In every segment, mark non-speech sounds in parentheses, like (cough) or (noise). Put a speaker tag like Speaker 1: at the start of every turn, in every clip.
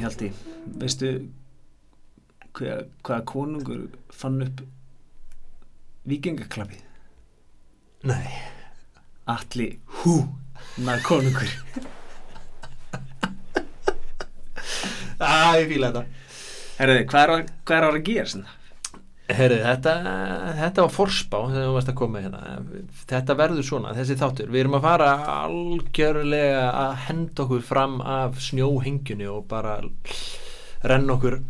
Speaker 1: Galti eh, veistu hver, hvaða konungur fann upp vikingaklappið
Speaker 2: Nei
Speaker 1: Atli hú nær konungur
Speaker 2: Æ, ég fíla þetta
Speaker 1: Herriði, hvað er, að- hvað er að vera að gera sinna?
Speaker 2: Herru, þetta, þetta var forspá þegar þú varst að koma hérna þetta verður svona, þessi þáttur við erum að fara algjörlega að henda okkur fram af snjóhengjunni og bara renna okkur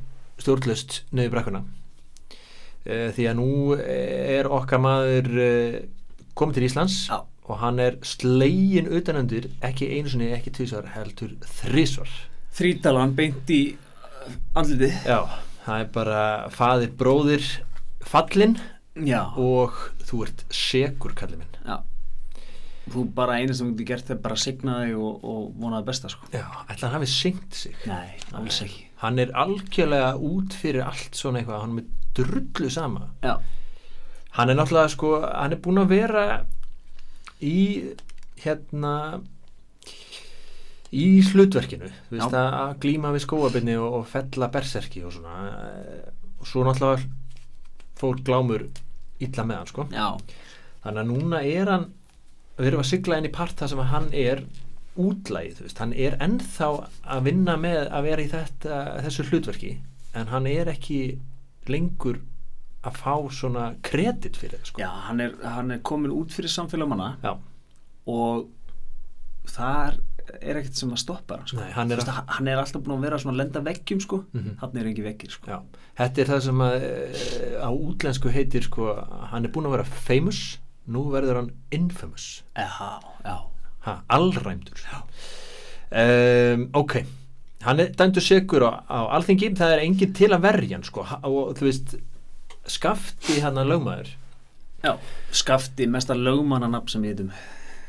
Speaker 2: stjórnlust niður brekkuna Eh, því að nú er okkar maður eh, komið til Íslands
Speaker 1: Já.
Speaker 2: og hann er slegin utanendur ekki einu sinni, ekki tvisvar heldur þrisvar
Speaker 1: Þrítalan beint í uh, andlitið
Speaker 2: Já, það er bara faðir bróðir fallin
Speaker 1: Já,
Speaker 2: og þú ert segur kallið minn
Speaker 1: já Þú bara einu sem þú getur gert er bara að signa þig og, og vonaði besta sko
Speaker 2: já, ætla hann hafi syngt sig
Speaker 1: Nei, alls ekki
Speaker 2: hann er algjörlega út fyrir allt svona eitthvað, hann er með drullu sama
Speaker 1: Já,
Speaker 2: hann er náttúrulega sko, hann er búinn að vera í hérna í hlutverkinu þú veist,
Speaker 1: Já.
Speaker 2: að að glíma við skóabinni og, og fella berserki og svona eh, og svo náttúrulega fór glámur illa með hann sko
Speaker 1: já,
Speaker 2: þannig að núna er hann við erum að sigla inn í part það sem að hann er útlægið, þú veist, hann er ennþá að vinna með að vera í þetta, þessu hlutverki en hann er ekki lengur að fá svona kredit fyrir það sko.
Speaker 1: já hann, er, hann er komin út fyrir samfélagmanna
Speaker 2: Já.
Speaker 1: og þar er ekkert sem að stoppa hann sko.
Speaker 2: Nei, hann er
Speaker 1: Þú veist,
Speaker 2: að-
Speaker 1: hann- hann er alltaf búin að vera svona að lenda veggjum sko. mm
Speaker 2: Mhm.
Speaker 1: hann er ekki veggir sko.
Speaker 2: Já. þetta er það sem að, eh, á útlensku heitir sko, hann er búinn að vera famous nú verður hann infamous
Speaker 1: já, já,
Speaker 2: ha, allræmdur um, ok hann er dæmdur segur á, á alþingi það er enginn til að verja hann sko ha- og þú veist skafti hann að lögmaður
Speaker 1: já skafti mesta lögmannanab sem ég sko. heitum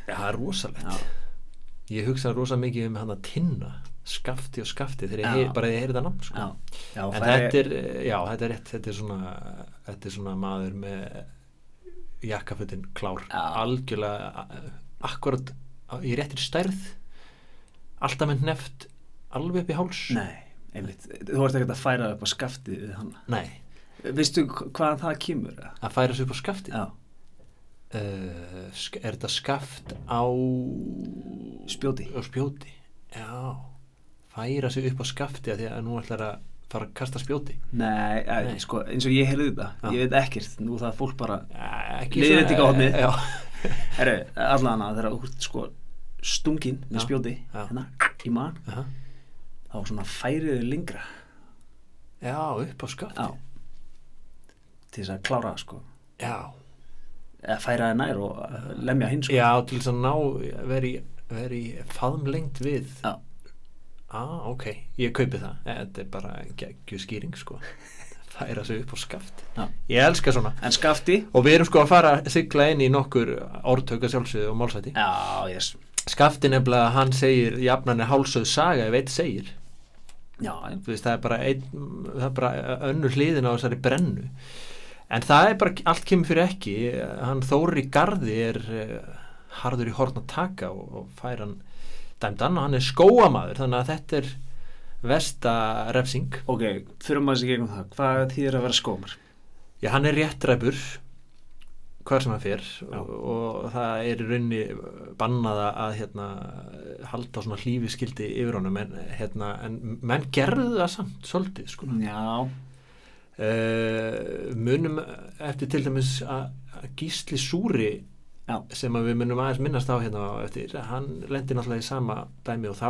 Speaker 2: ja, það er rosalegt
Speaker 1: Já.
Speaker 2: ég hugsa rosa mikið um hann að tinna skafti og skafti þegar ég
Speaker 1: Já.
Speaker 2: heyr, bara ég heyri þetta nafn sko.
Speaker 1: já, já,
Speaker 2: en þetta er, eh, já þetta er rétt þetta er svona, þetta er svona maður með jakkafutin klár
Speaker 1: Já.
Speaker 2: algjörlega eh, akkurat á- í réttir stærð alltaf með neft alveg upp í háls
Speaker 1: nei, einmitt, þú ert ekkert að færa upp á skaftið við hann
Speaker 2: Nei,
Speaker 1: veistu hva- hvaðan það kemur? eða?
Speaker 2: að færa sig upp á skafti
Speaker 1: já,
Speaker 2: uh, sk- Er þetta skaft á,
Speaker 1: spjóti
Speaker 2: á spjóti? Já, færa sig upp á skafti að því að nú ætlar að fara að kasta spjóti
Speaker 1: nei,
Speaker 2: Nei.
Speaker 1: nei. Sko, eins og ég heyrði þetta
Speaker 2: Já.
Speaker 1: ég veit ekkert, nú það er fólk bara
Speaker 2: Ja, Eh, ekki
Speaker 1: Leiðrétting
Speaker 2: svona-
Speaker 1: á hornið. (laughs)
Speaker 2: Já,
Speaker 1: Herru, allan að þeirra úr sko stungin með
Speaker 2: Já,
Speaker 1: spjóti
Speaker 2: já.
Speaker 1: hérna, í maðan,
Speaker 2: Aha.
Speaker 1: þá svona færiðu lengra
Speaker 2: já upp á skafti
Speaker 1: á til þess að klára það, sko
Speaker 2: já.
Speaker 1: eða færa þið nær og eh, lemja hinn sko
Speaker 2: Já, til þess að ná veri, veri faðmlengt við
Speaker 1: Já.
Speaker 2: ah, ok, ég kaupi það Eh, Þetta er bara geggju skýring sko (laughs) Færa sig upp á skafti
Speaker 1: Já.
Speaker 2: Ég elska svona
Speaker 1: en skafti,
Speaker 2: Og við erum sko að fara að sigla inn í nokkur orðtöka sjálfsögðu og málsæti.
Speaker 1: já, yes
Speaker 2: Skafti nefnilega, hann segir, jafnan er hálsögð saga ef eitt segir.
Speaker 1: já, já.
Speaker 2: Þú veist, það er bara, ein, það er bara önnur hliðin á þessari brennu. En það er bara, allt kemur fyrir ekki. Hann Þóri Garði er uh, harður í horn að taka og, og fær hann dæmdan og hann er skóamaður. Þannig að þetta er vesta refsing.
Speaker 1: ok, þurfum að þessi gegnum það hvað þýðir að vera skómar?
Speaker 2: Já, hann er réttræpur hvar sem hann fer
Speaker 1: Já.
Speaker 2: og, og það er í raunni bannað að hérna, halda svona hlífiskildi yfir honum en, hérna, en menn gerðu það samt svolítið sko.
Speaker 1: já,
Speaker 2: Uh, munum eftir til dæmis að að Gísli Súri
Speaker 1: já,
Speaker 2: sem að við munum aðeins minnast á hérna á eftir, hann lendi náttúrulega í sama dæmi og þá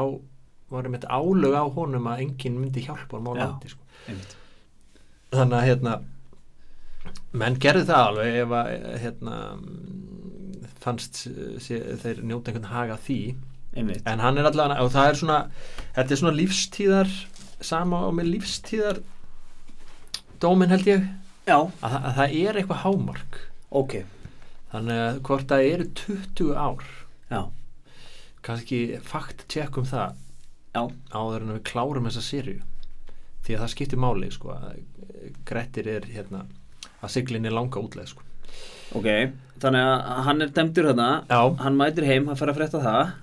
Speaker 2: varum eitt álög á honum að enginn myndi hjálpa honum á
Speaker 1: Já.
Speaker 2: landi sko
Speaker 1: einmitt
Speaker 2: þannig að hérna menn gerðu það alveg ef að hérna mm, fannst eh, sé, þeir njóta einhvern haga af því
Speaker 1: einmitt,
Speaker 2: en hann er allavega og það er svona, þetta er svona lífstíðar sama og með lífstíðar dómin held ég
Speaker 1: já,
Speaker 2: að, þa- að það er eitthvað hámark
Speaker 1: ok
Speaker 2: þannig að hvort það eru 20 ár
Speaker 1: já,
Speaker 2: kannski fakt tjekkum það
Speaker 1: já,
Speaker 2: áður en við klárum þessa sériu því að það skiptir máli sko að eh, Grettir er hérna að siglinni langa útleið sko
Speaker 1: ok þannig að hann er demdur þarna
Speaker 2: Já.
Speaker 1: hann mætir heim, hann fær að frétta það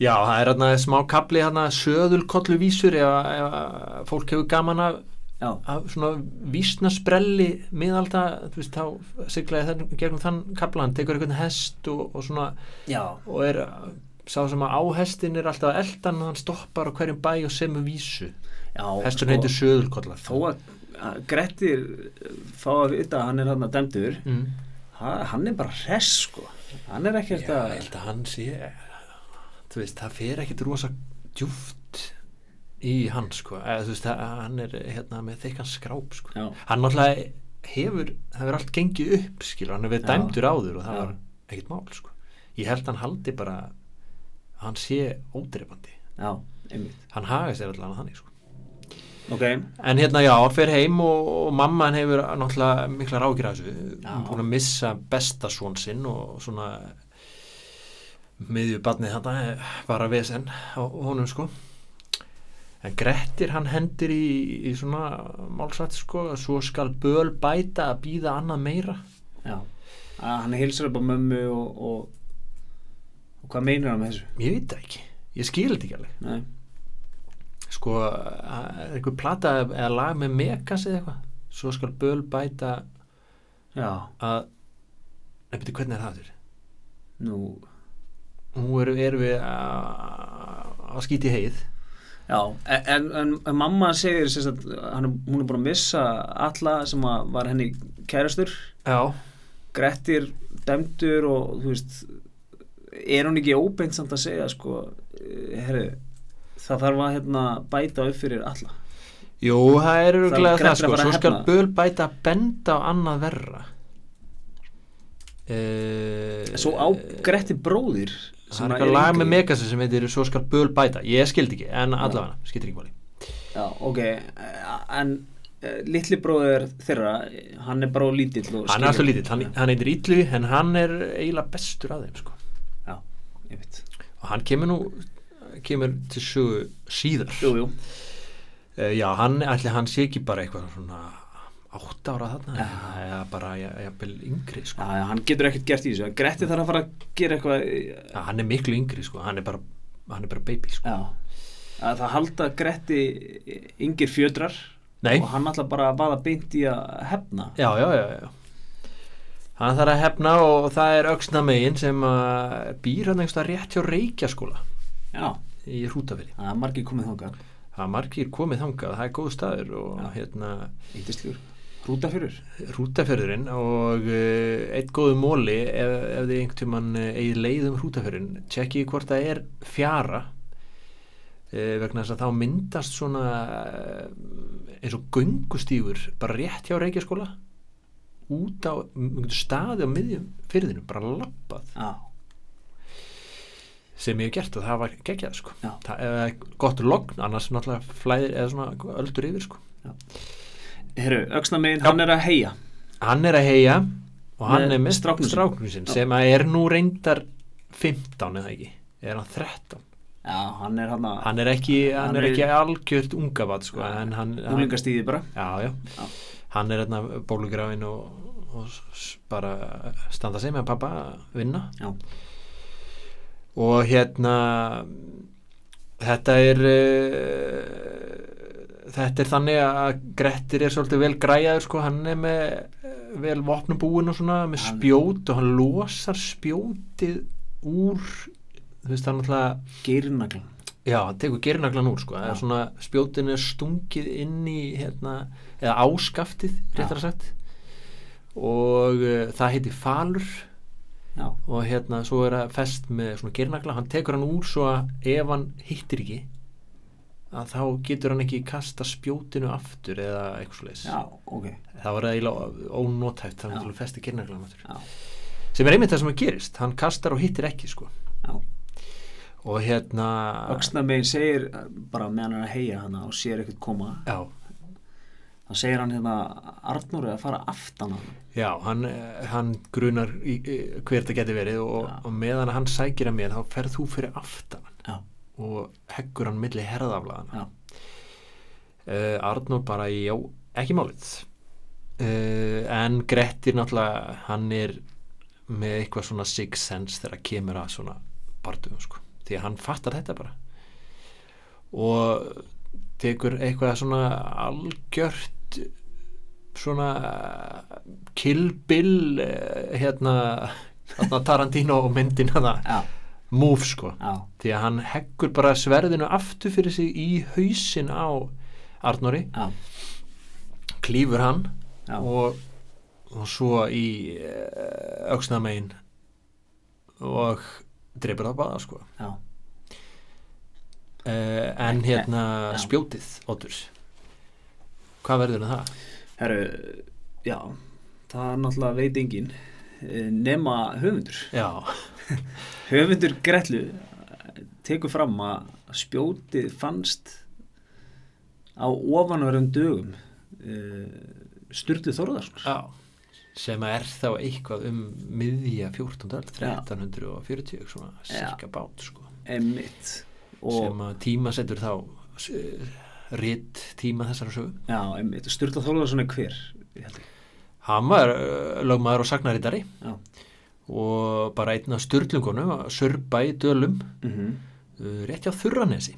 Speaker 2: Já, það er hérna smá kapli hérna söðulkollu vísur ef, að- ef að fólk hefur gaman af,
Speaker 1: já,
Speaker 2: af svona vísnasprelli miðalda, þú veist, þá siglaði þann, gegnum þann kapla, hann tekur einhvern hest og, og svona,
Speaker 1: já,
Speaker 2: og er uh, sá sem að áhestin er alltaf eldan og hann stoppar á hverjum bæ og semur vísu
Speaker 1: já
Speaker 2: hestur heitir söðulkollar
Speaker 1: þó að að Grettir uh, fá að vita að hann er hann að dæmdur
Speaker 2: mm.
Speaker 1: ha- hann er bara hress sko hann er
Speaker 2: Já,
Speaker 1: ekkert
Speaker 2: ég
Speaker 1: að
Speaker 2: held að hann sé þú veist, það fer ekkit rosa djúft í hann sko, eða þú veist, að hann er hérna með þykkan skráp sko
Speaker 1: já,
Speaker 2: hann náttúrulega hefur það hefur allt gengið upp, skilur, hann hefur verið
Speaker 1: Já.
Speaker 2: dæmdur áður og það
Speaker 1: Já.
Speaker 2: var ekkit mál sko ég held hann haldi bara hann sé ódreifandi
Speaker 1: já, einmitt
Speaker 2: hann haga sér allan þannig sko
Speaker 1: ok,
Speaker 2: En hérna já, fer heim og, og mamma hann hefur náttúrulega mikla rákir af þessu
Speaker 1: Já.
Speaker 2: hún er búin að missa besta svon sinn og svona miðju barnið þetta var að vesen á honum sko en Grettir hann hendir í, í svona málsvætt sko svo skal böl bæta að býða annað meira
Speaker 1: já að hann hilsar upp á mömmu og, og, og hvað meinar hann með þessu
Speaker 2: ég veit það ekki, ég skil þetta ekki alveg
Speaker 1: nei,
Speaker 2: sko, að- er einhver plata eða lag með megas eða eitthvað svo skal böl bæta
Speaker 1: já,
Speaker 2: að nefnir, hvernig er það þurr?
Speaker 1: nú
Speaker 2: nú erum er við að að skýti heið
Speaker 1: já, en, en, en mamma segir sérst að hann, er- hún er búin að missa alla sem að var henni kærastur
Speaker 2: já,
Speaker 1: Grettir dæmdur og þú veist er hún ekki óbeint samt að segja sko, eh, herri það þarf að hérna, bæta upp fyrir alla
Speaker 2: jú, það er
Speaker 1: Það
Speaker 2: örgulega það,
Speaker 1: er greint að
Speaker 2: sko,
Speaker 1: fara að
Speaker 2: svo skal
Speaker 1: hefna.
Speaker 2: böl bæta að benda á annað verra e,
Speaker 1: svo á Grettir bróðir
Speaker 2: það er
Speaker 1: sem að
Speaker 2: eitthvað lag
Speaker 1: yngri.
Speaker 2: með Megasi sem heitir svo skal böl bæta, ég skildi ekki en allavega, skildi ekki máli
Speaker 1: já, ok, eh, en eh, litli bróðir þeirra eh, hann er bara of lítill og
Speaker 2: hann er alltaf
Speaker 1: skilur-
Speaker 2: lítill, hann, hann heitir Ítlu en hann er eiginlega bestur að þeim sko.
Speaker 1: já, ég veit
Speaker 2: og hann kemur nú kemur til sögu síðar
Speaker 1: jú, jú,
Speaker 2: Eh, Já, hann, allir hann sé ekki bara eitthvað svona átt ára þarna eða- eða bara ja, ja, yngri sko.
Speaker 1: já, já, hann getur ekkert gert í þessu en Grettir þarf að fara að gera eitthvað eh,
Speaker 2: ja. hann er miklu yngri sko. hann, er bara, hann er bara baby sko.
Speaker 1: já, að það halda Gretti yngir fjödrar
Speaker 2: Nei,
Speaker 1: og hann ætla bara að vaða beint í að hefna
Speaker 2: já, já, já, já hann þarf að hefna og það er öxna megin sem að býr hann einhverstað rétt hjá Reykjaskóla
Speaker 1: Já,
Speaker 2: í Hrútafili
Speaker 1: það er margir komið þangað
Speaker 2: það er margir komið þangað, það er góð staður og
Speaker 1: Já.
Speaker 2: hérna
Speaker 1: Índislegur Rútafjörur
Speaker 2: Hrútafjörðurinn og uh, eitt góðu móli ef, ef þið einhvern tímann uh, eigið leið um Hrútafjörðurinn tjekkið hvort það er fjara uh, vegna þess að þá myndast svona uh, eins og göngustífur bara rétt hjá Reykjaskóla út á um, staði á miðjum fyrðinu, bara lappað
Speaker 1: Já,
Speaker 2: sem ég hef gert og það var geggjað sko.
Speaker 1: Já.
Speaker 2: það er gott logn annars náttúrulega flæðir eða svona öldur yfir sko.
Speaker 1: herru, Öxnamegin,
Speaker 2: Já.
Speaker 1: hann er að heia
Speaker 2: hann er að heia og hann
Speaker 1: Með
Speaker 2: er með
Speaker 1: stráknum
Speaker 2: stráknum,
Speaker 1: sínum.
Speaker 2: sinn
Speaker 1: Já.
Speaker 2: sem að er nú reyndar 15 eða ekki er hann 13
Speaker 1: Já, hann er hann að
Speaker 2: hann er ekki, hann
Speaker 1: Hann
Speaker 2: er
Speaker 1: er-
Speaker 2: ekki algjört ungavat sko, en hann, hann
Speaker 1: úlingastíði bara
Speaker 2: já, já.
Speaker 1: Já.
Speaker 2: hann er hérna bólugrafin og, og s- bara standa sig með pappa að vinna
Speaker 1: Já,
Speaker 2: og hérna þetta er uh, þetta er þannig að Grettir er svolítið vel græjaður sko, hann er með eh, vel vopnum búin og svona með
Speaker 1: Hann-
Speaker 2: spjót og hann losar spjótið úr þú veist hann alltaf
Speaker 1: geirnaglan
Speaker 2: já, hann tekur gerinaglan úr sko, eða
Speaker 1: Já.
Speaker 2: svona spjótin er stungið inn í hérna, eða áskaftið réttar að sagt og uh, það heiti falur
Speaker 1: Já,
Speaker 2: og hérna svo er það fest með svona gernagla, hann tekur hann úr svo að ef hann hittir ekki að þá getur hann ekki kasta spjótinu aftur eða eitthvað svo
Speaker 1: já, ok
Speaker 2: það var eiginlega ónótæft
Speaker 1: Já.
Speaker 2: þannig að festi gernaglan aftur
Speaker 1: Já,
Speaker 2: sem er einmitt það sem að gerist, hann kastar og hittir ekki sko
Speaker 1: já
Speaker 2: og hérna
Speaker 1: Öxnamegin segir eh, bara meðan hann er að heia hann og sér ekkert koma
Speaker 2: já,
Speaker 1: þá segir hann hérna Arnur er að fara aftan hann
Speaker 2: já, hann, eh, hann grunar í, eh, hver það geti verið og,
Speaker 1: Já.
Speaker 2: og meðan hann sækir að mér þá ferð þú fyrir aftan hann
Speaker 1: Já,
Speaker 2: og heggur hann milli herðaflaðana
Speaker 1: já,
Speaker 2: uh, Arnór bara já, ekki málið uh, en Grettir náttúrulega hann er með eitthvað svona six sense þegar kemur að svona barndugum sko því að hann fattar þetta bara og tekur eitthvað svona algjört svona kilbil hérna, hérna Tarantino og myndin hana,
Speaker 1: já,
Speaker 2: move sko
Speaker 1: já,
Speaker 2: því að hann heggur bara sverðinu aftur fyrir sig í hausin á Arnóri,
Speaker 1: já,
Speaker 2: klýfur hann
Speaker 1: já.
Speaker 2: og, og svo í eh, öxnamegin og dreipur það bara sko
Speaker 1: já.
Speaker 2: uh, en hérna
Speaker 1: Já.
Speaker 2: spjótið Otturs hvað verður um það?
Speaker 1: Herru, já, það er náttúrulega veit enginn eh, nema höfundur.
Speaker 2: Já,
Speaker 1: Höfundur Gretlu eh, tekur fram að spjótið fannst á ofanverðum dögum eh, Sturlu Þorðarsson.
Speaker 2: já sem að er þá eitthvað um miðja 14. öld, 1340 svona
Speaker 1: Já.
Speaker 2: cirka bát sko
Speaker 1: Emmitt. Og,
Speaker 2: sem að tíma setur þá rétt tíma þessara sögum
Speaker 1: já, emmitt. Sturla Þorðarsson er hver? Ég held ég.
Speaker 2: hann var uh, lögmaður og sagnarítari
Speaker 1: Já.
Speaker 2: og bara einn af styrlungunum að sörpa í dölum
Speaker 1: Mm
Speaker 2: uh, rétt hjá Þurranesi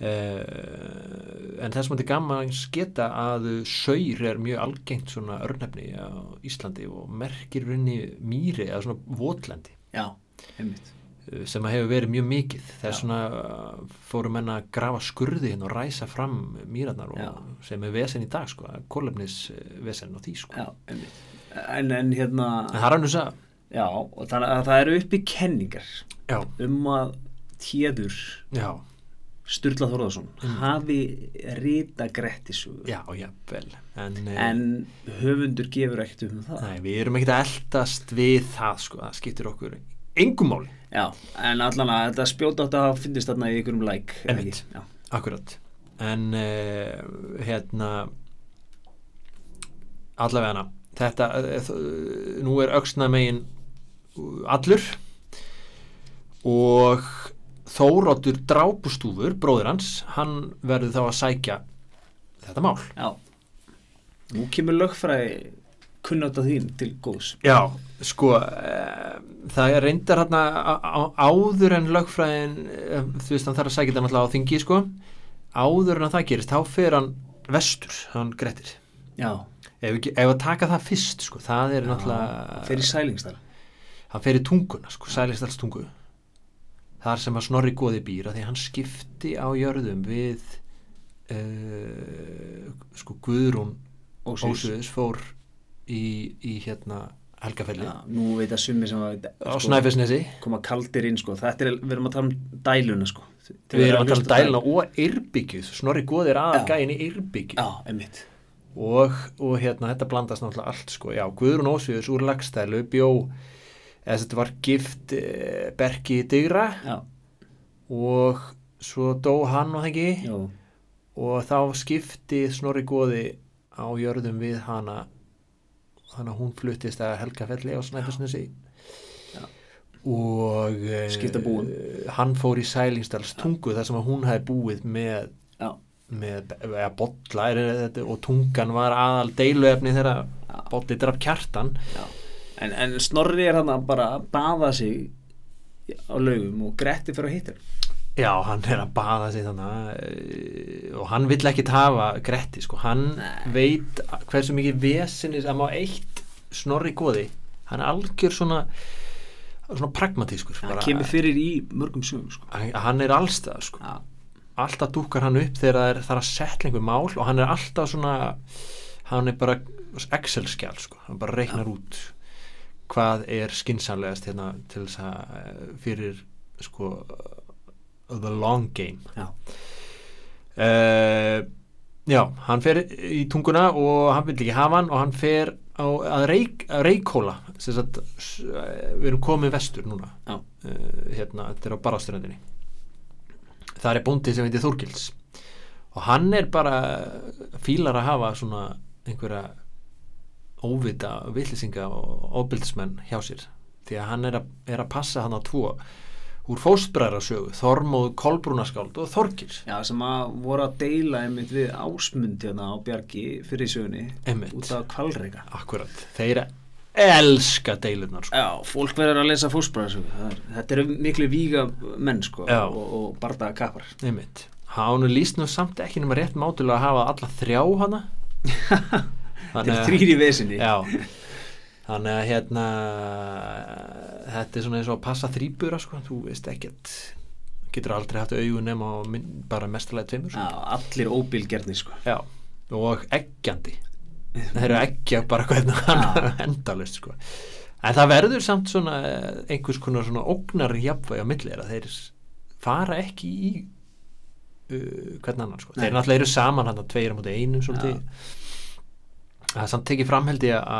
Speaker 2: uh, en þess maður er gaman að sketa að saur er mjög algengt svona örnefni á Íslandi og merkir í rauninni mýri eða svona votlendi
Speaker 1: Já, emmitt.
Speaker 2: uh, sem að hefur verið mjög mikið það er
Speaker 1: Já.
Speaker 2: svona uh, fóru menn að grafa skurði hérna og ræsa fram mýrarnar og,
Speaker 1: Já.
Speaker 2: sem er vesen í dag sko, kolefnis vesen og því sko.
Speaker 1: Já, emmitt. En, en hérna,
Speaker 2: en það er hann þess að
Speaker 1: já, og þannig að það eru uppi kenningar
Speaker 2: já,
Speaker 1: um að téður
Speaker 2: já,
Speaker 1: Sturla Þorðarsson hafi rita Grettisögu
Speaker 2: já, já, vel en, eh,
Speaker 1: en höfundur gefur ekkert um það
Speaker 2: Nei, við erum ekkert að eldast við það sko, það skiptir okkur engum máli,
Speaker 1: já, en allan að þetta spjóta átt að finnist þarna í einhverjum læk eða
Speaker 2: Einmitt.
Speaker 1: ekki? Já.
Speaker 2: akkurat en uh, hérna allavega hana þetta, uh, nú er öxna megin allur og Þóróttur drápustúfur, bróðir hans hann verður þá að sækja þetta mál
Speaker 1: já nú kemur lögfræði kunnáta þín til góðs
Speaker 2: Já, sko eh, það er reyndar hérna á- á- áður en lögfræðin eh, þú veist hann þarf að sækja þetta náttúrulega á þingi sko áður en að það gerist, þá fer hann vestur, hann grettir
Speaker 1: já,
Speaker 2: ef, ekki, ef að taka það fyrst sko, það er náttúrulega
Speaker 1: fyrir sælingstar
Speaker 2: hann fer í tunguna, sko, sælistalstungu þar sem að snorri góði býr af því að hann skipti á jörðum við uh, sko Guðrún
Speaker 1: Ósvífs.
Speaker 2: Ósviðis fór í, í hérna Helgafelli
Speaker 1: já, nú veit að summi sem að sko,
Speaker 2: á Snæfellsnesi
Speaker 1: koma kaldir inn sko, þetta er, við erum að tala um dæluna sko Þau
Speaker 2: Við erum að tala um
Speaker 1: hlusta á
Speaker 2: dæluna og yrbyggjuð, Snorri Góð er aðal gæin í yrbyggjuð
Speaker 1: já, einmitt
Speaker 2: og, og hérna þetta blandast náttúrulega allt sko, já, Guðrún Ósviðus úr lagstælu bjó, eða þetta var gift e, Berki Digra
Speaker 1: já,
Speaker 2: og svo dó hann og þengi
Speaker 1: já,
Speaker 2: og þá skipti Snorri Góði á jörðum við hana þannig að hún fluttist að Helgafelli á Snæfellsnesi
Speaker 1: Já.
Speaker 2: og eh,
Speaker 1: Skipta búum.
Speaker 2: hann fór í Sælingsdals tungu þar sem að hún hafi búið með
Speaker 1: já,
Speaker 2: með eða, bolla er, þetta, og tungan var aðal deiluefni þegar
Speaker 1: Já.
Speaker 2: bolli draf kjartan
Speaker 1: Já. En, en Snorri er hann að bara baða sig á laugum og Gretti fyrir að hitta hann.
Speaker 2: já, hann er að baða sig þannig eh, og hann vill ekkit hafa Gretti, sko, hann
Speaker 1: Nei.
Speaker 2: veit hversu mikið vesinis að má eitt snorri góði, hann er algjör svona svona pragmatískur
Speaker 1: Hann
Speaker 2: bara-
Speaker 1: kemur fyrir í mörgum sögum sko.
Speaker 2: hann hann er allstað, sko
Speaker 1: Já,
Speaker 2: alltaf dúkkar hann upp þegar það er, það er að setla einhver mál og hann er alltaf svona hann er bara Excel-skjál sko, hann bara reiknar út hvað er skinsamlegast hérna til þess að eh, fyrir sko eh, the long game
Speaker 1: já,
Speaker 2: uh, já, hann fer í tunguna og hann vil ekki hafa hann og hann fer á, að, reik, að reikhóla sem sagt, s- eh, við erum komin vestur núna
Speaker 1: já,
Speaker 2: uh, hérna, þetta er á barðaströndinni það er bóndi sem heitir Þorgils og hann er bara fílar að hafa svona einhverja óvita villisinga og óbildismenn hjá sér því að hann er að, er að passa hann á tvo úr fóstbræðarsögu Þormóð Kolbrúnaskáld og Þorgils
Speaker 1: já, sem að voru að deila einmitt við ásmund hérna á Bjargi fyrir í sögunni
Speaker 2: Einmitt.
Speaker 1: út af kvalreika.
Speaker 2: akkurat, þeir elska deilurnar sko.
Speaker 1: Já, fólk verður að lesa fósbræðarsögu Það er- Þetta eru miklu víga menn sko
Speaker 2: Já.
Speaker 1: og, og bardaga (laughs) kapar
Speaker 2: einmitt hann líst nú samt ekki nema rétt mátulega að hafa alla þrjá hana
Speaker 1: Þetta er þrýri vesinni
Speaker 2: já þannig að hérna þetta er svona eins og að passa þrýbura sko, þú veist ekkert getur aldrei haft augun nema á minn- bara mestalega tveimur sko.
Speaker 1: allir óbílgerni sko
Speaker 2: já. og eggjandi þeir eru eggja bara hvernig hann (laughs) endalist sko en það verður samt svona eh, einhvers konar svona ógnar jafnvæg á milli þeirra þeir fara ekki í uh, hvern annan sko
Speaker 1: Nei.
Speaker 2: þeir náttúrulega eru saman hann að tveira múti einu svolítið
Speaker 1: Já.
Speaker 2: það er samt tekið framhaldi að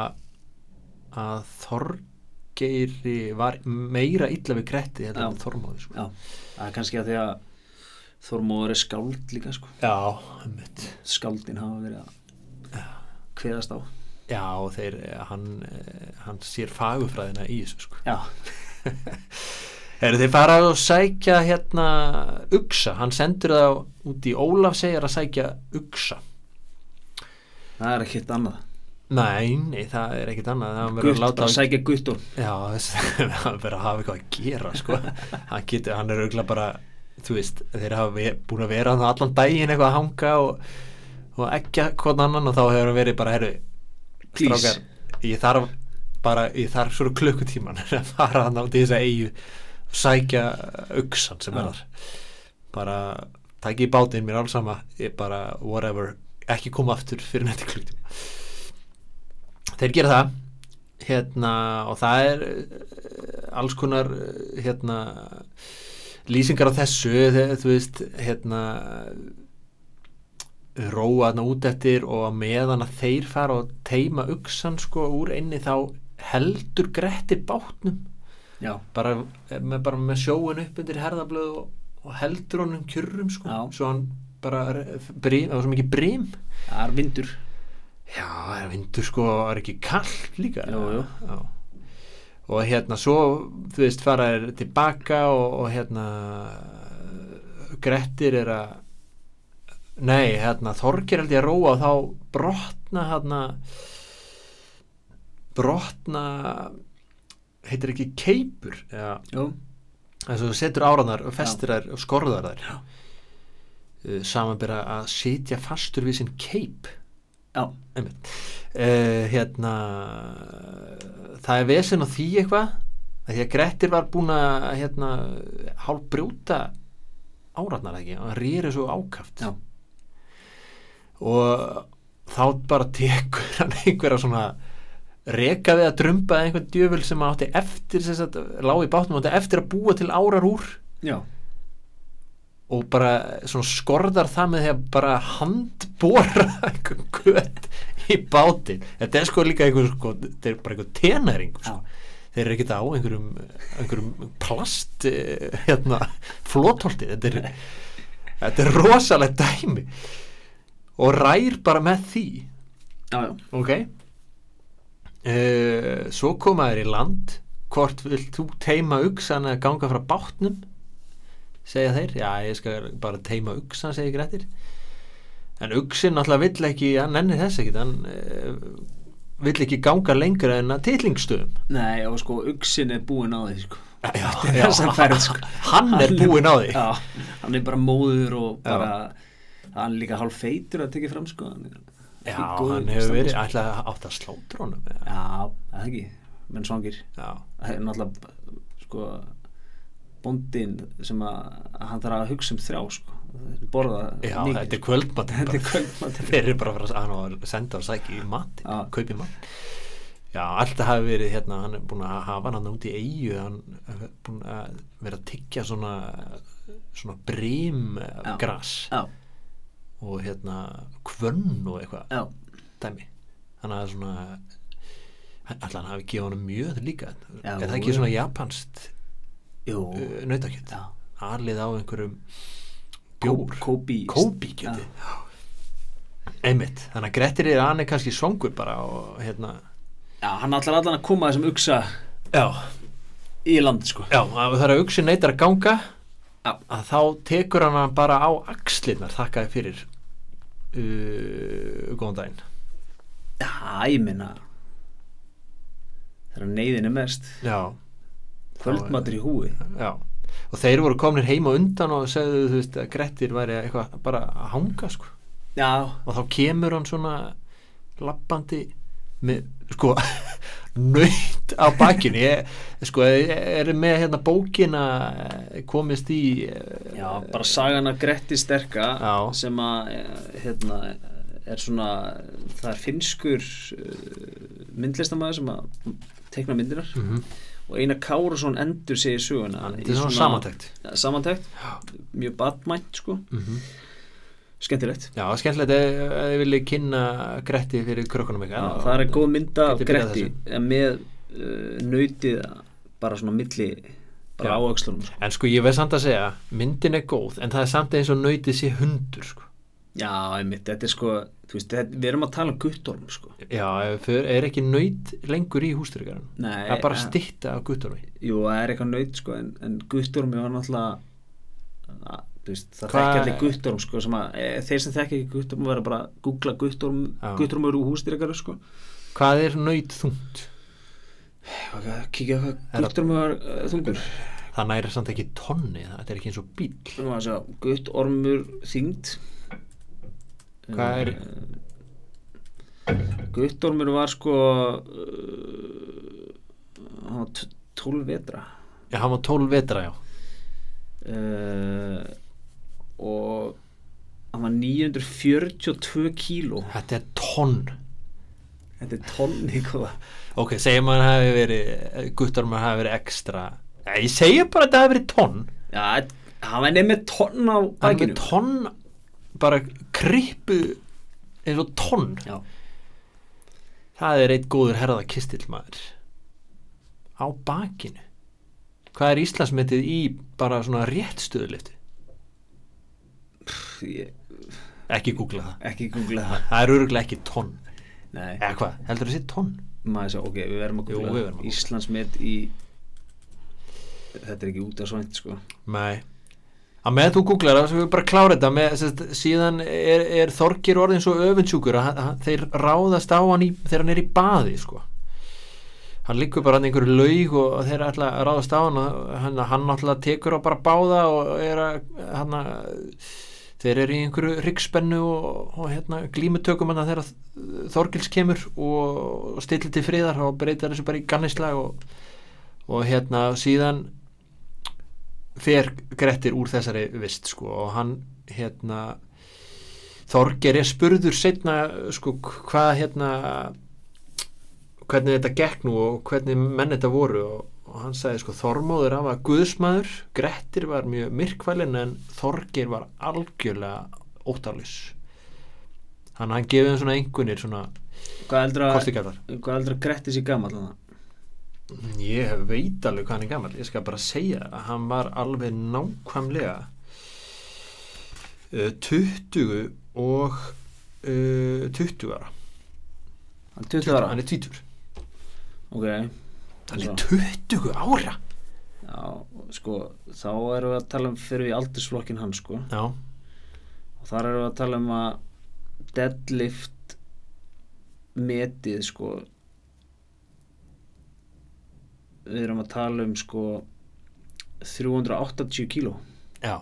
Speaker 2: að Þorgeiri var meira illa við kretti heldur
Speaker 1: Já.
Speaker 2: en Þormóði sko
Speaker 1: Já, það er kannski að því að Þormóður er skáld líka sko
Speaker 2: já, einmitt.
Speaker 1: Skáldin hafa verið að kveðast á
Speaker 2: já og þeir, eh, hann, eh, hann sér fagufræðina í þessu sko
Speaker 1: Já,
Speaker 2: (laughs) Eru þið farað að sækja hérna Uxa, hann sendur það út í Ólaf segir að sækja Uxa
Speaker 1: það er ekkert annað
Speaker 2: Nei, nei, það er ekkit annað Það verður
Speaker 1: Gutt,
Speaker 2: að láta
Speaker 1: bara sækja gutt og
Speaker 2: Já, (laughs) þess- hann verður að hafa eitthvað að gera sko.
Speaker 1: (laughs)
Speaker 2: hann, getur, hann er auðvitað bara þú veist, þeir hafa ve- búin að vera þarna allan daginn eitthvað að hanga og, og ekki hvort annan og þá hefur hann verið bara, herru,
Speaker 1: Please.
Speaker 2: strákar ég þarf bara, ég þarf svona klukkutíman (laughs) að fara hann út í þessa eigu sækja uksan sem er
Speaker 1: Já.
Speaker 2: þar bara, takk í bátinn mér alls sama, ég bara, whatever ekki koma aftur fyrir nætti klukkutíma þeir gera það hérna, og það er eh, alls konar eh, hérna lýsingar á þessu þe- þú veist, hérna róa þarna út eftir og á meðan að þeir fara og teima uksan sko úr einni þá heldur grettir bátnum
Speaker 1: Já,
Speaker 2: bara eh, með, bara með sjóin upp undir herðablöð og, og heldur honum kjurrum sko
Speaker 1: Já.
Speaker 2: svo hann bara r- brim, það var svo mikið brim
Speaker 1: það er vindur
Speaker 2: já, það er vindur sko, það er ekki kallt líka
Speaker 1: Jú, jú.
Speaker 2: Já. og hérna svo þú veist fara þér tilbaka og, og hérna Grettir er að nei, hérna Þorgir held ég að róa og þá brotna hérna brotna heitir ekki keipur eða
Speaker 1: Jú,
Speaker 2: þess að þú setur áranar og festir þær og skorðar þær uh, samanbyrja að sitja fastur við sinn keip
Speaker 1: já,
Speaker 2: einmitt uh, hérna það er vesen á því eitthvað að því að Grettir var búin að hérna, hálf brjóta áratnar ekki, hann rýri svo ákaft
Speaker 1: já
Speaker 2: og þá bara tekur hann einhverja svona reka við að drömba einhvern djöful sem átti eftir sem sagt, lág í bátnum átti eftir að búa til árar úr
Speaker 1: Já,
Speaker 2: og bara svona skorðar það með því að bara (laughs) handbóra einhver gött í bátinn þetta er sko líka einhver sko, þetta er bara einhver tenæring sko.
Speaker 1: Já.
Speaker 2: þeir eru ekkert á einhverjum, einhverjum plast eh, hérna, flótholti þetta er, þetta er rosalegt dæmi og rær bara með því
Speaker 1: já, já
Speaker 2: ok uh, svo koma þér í land hvort vilt þú teima uksan að ganga frá bátnum segja þeir, já ég skal bara teima uksan segir Grettir en uksin náttúrulega vill ekki, hann ennir þess ekkit hann uh, vill ekki ganga lengra en að titlingsstöðum
Speaker 1: Nei, og sko, uksin er búin á því sko
Speaker 2: já,
Speaker 1: já, (laughs) þessa ferð sko.
Speaker 2: hann er búinn á því
Speaker 1: já, hann er bara móður og bara hann er líka hálf feitur að tekja fram sko hann er
Speaker 2: já,
Speaker 1: ekki góður
Speaker 2: hann hefur
Speaker 1: standi,
Speaker 2: verið
Speaker 1: sko.
Speaker 2: ætla að átt að slóta honum já,
Speaker 1: já, það ekki, menn svangir
Speaker 2: já,
Speaker 1: það er náttúrulega sko bóndin sem að hann þarf að hugsa um þrjá sko borða
Speaker 2: já
Speaker 1: mikið,
Speaker 2: þetta er
Speaker 1: sko.
Speaker 2: kvöldmatt
Speaker 1: Þetta er kvöldmatur.
Speaker 2: (laughs) þeir eru bara að fara að- hann á að senda og sækja í mat
Speaker 1: Já.
Speaker 2: kaupi mat já, allt hafi verið hérna hann er búin að hafa hann út í eigu hann er búin að vera að tyggja svona svona brim
Speaker 1: Já.
Speaker 2: gras
Speaker 1: já,
Speaker 2: og hérna kvönn og eitthvað
Speaker 1: já,
Speaker 2: dæmi þannig að svona alltaf hann hafi gefið honum mjög líka
Speaker 1: Já,
Speaker 2: er það
Speaker 1: jú.
Speaker 2: ekki svona japanst
Speaker 1: jú
Speaker 2: uh, nautakjöt
Speaker 1: Já.
Speaker 2: alið á einhverjum bjór
Speaker 1: kóbi
Speaker 2: Kobe kjöti einmitt, þannig að Grettir er hann er kannski svangur bara og hérna
Speaker 1: já, hann ætlar allan að koma þessum uksa
Speaker 2: já,
Speaker 1: í land sko
Speaker 2: já að það er að hugsi neytar að ganga
Speaker 1: Já.
Speaker 2: að þá tekur hann hann bara á axlirnar þakkaði fyrir uh, góðan daginn
Speaker 1: já, ég minna þegar neyðin er mest
Speaker 2: já,
Speaker 1: kvöldmatur í húi
Speaker 2: já og þeir voru komnir heima undan og segðu þú veist að Grettir væri eitthvað bara að hanga sko
Speaker 1: já,
Speaker 2: og þá kemur hann svona lappandi með sko (laughs) nöyt á bakinu ég, sko, ég er með hérna bókina eh, komist í eh,
Speaker 1: já bara sagan að Gretti sterka
Speaker 2: Já.
Speaker 1: sem að eh, hérna, er svona það er finskur uh, myndlistamæður sem að tekna myndinar
Speaker 2: mhm,
Speaker 1: og Einar Kárusson endur segir söguna
Speaker 2: þetta
Speaker 1: í
Speaker 2: er svona samantækt
Speaker 1: Ja, samantækt, mjög badmænt sko,
Speaker 2: mhm
Speaker 1: skemmtilegt
Speaker 2: Já, skemmtilegt ef ef þið viljið kynna Gretti fyrir krökkunum
Speaker 1: Já,
Speaker 2: ykkar
Speaker 1: það er góð mynda af
Speaker 2: Gæti byrjað
Speaker 1: Gretti en með uh, nautið bara svona milli bara
Speaker 2: Já.
Speaker 1: áöxlunum sko.
Speaker 2: En sko ég veist samt að segja, myndin er góð en það er samt eins og nautið sé hundur sko.
Speaker 1: Já, einmitt, þetta er sko þú veist, þetta, við erum að tala um guttorm sko.
Speaker 2: Já, ef för, er ekki naut lengur í hústyrkarinn
Speaker 1: Nei, eh,
Speaker 2: Það er bara
Speaker 1: ja.
Speaker 2: stytta af guttormi
Speaker 1: Jú, það er eitthvað naut sko, en, en guttorm var náttúrulega að, þú veist, það
Speaker 2: Hvað-
Speaker 1: þekkja allir guttorm sko, sem að, e, þeir sem þekkja ekki guttorm verða bara að googla guttorm,
Speaker 2: Já.
Speaker 1: guttormur úr hústýrikar sko.
Speaker 2: Hvað er naut þungt?
Speaker 1: kíkja hvað
Speaker 2: Er það-
Speaker 1: guttormur uh, þungur
Speaker 2: Það næri samt ekki tonni, þetta er ekki eins og bíl
Speaker 1: Nú að sjá, gutt ormur þyngd
Speaker 2: Hvað er-
Speaker 1: Gutt ormur var sko uh, hann var 12 vetra
Speaker 2: Já, hann var 12 vetra, já
Speaker 1: uh, og hann var 942 kíló
Speaker 2: Þetta er tonn
Speaker 1: þetta er sko. tonni góða
Speaker 2: Ok, segjum að hann hafi verið guttormur hafi verið ekstra Já, ég segi bara að þetta hafi verið tonn
Speaker 1: Já, hann var nefnir tonn á
Speaker 2: Það er
Speaker 1: bakinu
Speaker 2: með tonn bara krippu eins og tonn
Speaker 1: Já,
Speaker 2: Það er eitt góður herðakistill maður á bakinu Hvað er Íslandsmetið í bara svona rétt stöðulifti?
Speaker 1: pff, ég,
Speaker 2: Ekki googla það
Speaker 1: ekki googla það
Speaker 2: Það er öruglega ekki tonn
Speaker 1: Nei,
Speaker 2: Eða hvað, heldur það sé tonn?
Speaker 1: maður sá, ok, við verðum að
Speaker 2: Jú,
Speaker 1: googla
Speaker 2: við verðum að googla.
Speaker 1: Íslandsmet í Þetta er ekki út af svænt sko
Speaker 2: Nei Að með þú googlar það, svo við bara klára þetta með, sest, síðan er, er Þorgir orðin svo öfundsjúkur að hann- hann- þeir ráðast á hann í, þegar hann er í baði sko. hann liggur bara hann í einhverju laug og og þeir ætla að ráðast á hann og hann, hann náttúrulega tekur á bara báða og er að hann að þeir eru í einhverju ryggspennu og, og hérna, glímutökum hann þegar Þorgils kemur og, og stillir til friðar og breytir þessu bara í gannislag og, og hérna síðan fer Grettir úr þessari vist sko og hann hérna Þorger er spurður setna sko hvað hérna hvernig þetta gekk nú og hvernig menn þetta voru og, og hann sagði sko Þormóður af að guðsmaður Grettir var mjög myrkvælin en Þorger var algjörlega óttalus hann, hann gefið þeim svona einhvernir svona
Speaker 1: Hvað heldur að,
Speaker 2: kostikaflar
Speaker 1: hvað heldur að Gretti sér gammal hann?
Speaker 2: Ég veit alveg hvað hann er gammal Ég skal bara segja að hann var alveg nákvæmlega uh, 20 og uh, 20 ára
Speaker 1: Hann er 20 ára?
Speaker 2: Hann er 20
Speaker 1: Ok,
Speaker 2: Hann
Speaker 1: Já.
Speaker 2: er 20 ára
Speaker 1: já, sko, þá erum við að tala um fyrir við aldursflokkin hann sko
Speaker 2: Já,
Speaker 1: og þar erum við að tala um að deadlift metið sko við erum að tala um sko 380 kíló
Speaker 2: já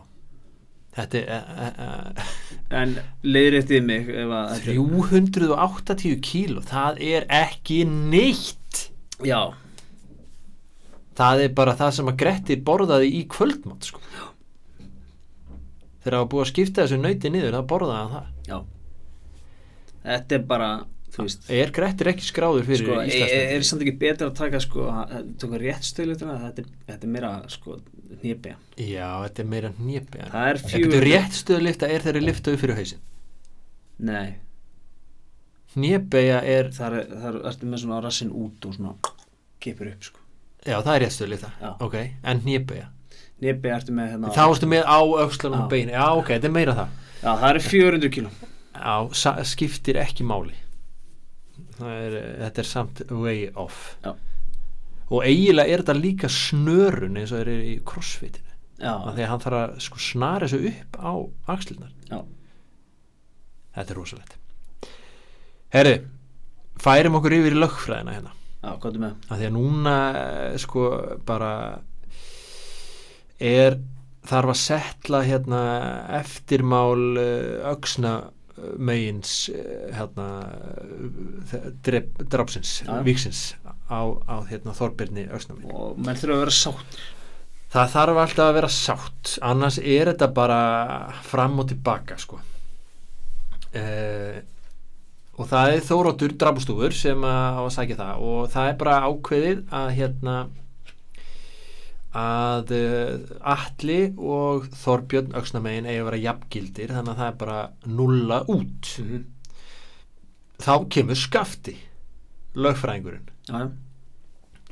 Speaker 2: Þetta er uh, uh,
Speaker 1: en leiðréttið mig ef að þetta er-
Speaker 2: 380 kíló Það er ekki neitt
Speaker 1: já,
Speaker 2: Það er bara það sem að Grettir borðaði í kvöldmátt sko. Þegar það var búið að skipta þessu nauti niður þá borðaði hann það
Speaker 1: já þetta er bara, þú veist
Speaker 2: Er Grettir ekki skráður fyrir
Speaker 1: sko, er,
Speaker 2: Íslandsmótið?
Speaker 1: er, er samt ekki betra að taka sko, að- taka rétt stöðlutina þetta, er- þetta er meira sko nýrbega
Speaker 2: Já, þetta er meira nýpi
Speaker 1: Það er
Speaker 2: Þetta
Speaker 1: fjögur-
Speaker 2: er rétt stöðlifta er þeirri lifta upp fyrir hausin
Speaker 1: nei,
Speaker 2: Nýbeja er,
Speaker 1: þar, er- þar ertu með svona rassin út og svona kipur upp sko
Speaker 2: já það er rétt stöðlifta
Speaker 1: Já.
Speaker 2: Ok, en nýbeja
Speaker 1: nýrbega ertu með hérna
Speaker 2: Þá erstu með á öxlunum
Speaker 1: Já.
Speaker 2: beinu Já, ok, þetta er meira það
Speaker 1: já, það er 400 kíló
Speaker 2: Já, sa- skiptir ekki máli það er, Þetta er samt way off
Speaker 1: Já.
Speaker 2: Og eiginlega er þetta líka snörun eins og þeir eru í crossfitinu Af
Speaker 1: já,
Speaker 2: því að hann þarf að sko snara þessu upp á axlirnar
Speaker 1: já,
Speaker 2: Þetta er rosalegt Herri, færum okkur yfir í lögfræðina hérna
Speaker 1: já, Já, hvað er með?
Speaker 2: að því að núna eh, sko bara er þarf að setla hérna eftirmál eh, öxna eh, megins eh, hérna eh, drep, drapsins,
Speaker 1: Já.
Speaker 2: víksins á, á hérna Þorbirni öxnamegin
Speaker 1: Og menn þurfa að vera sátt.
Speaker 2: það þarf alltaf að vera sátt annars er þetta bara fram og tilbaka sko eh, og það er Þóróttur drafustúfur sem að á að sækja það og það er bara ákveðið að hérna að eh, Atli og Þorbjörn Öxnamegin eigi að vera jafngildir þannig að það er bara nulla út þá kemur skafti lögfræðingurinn
Speaker 1: Já, já.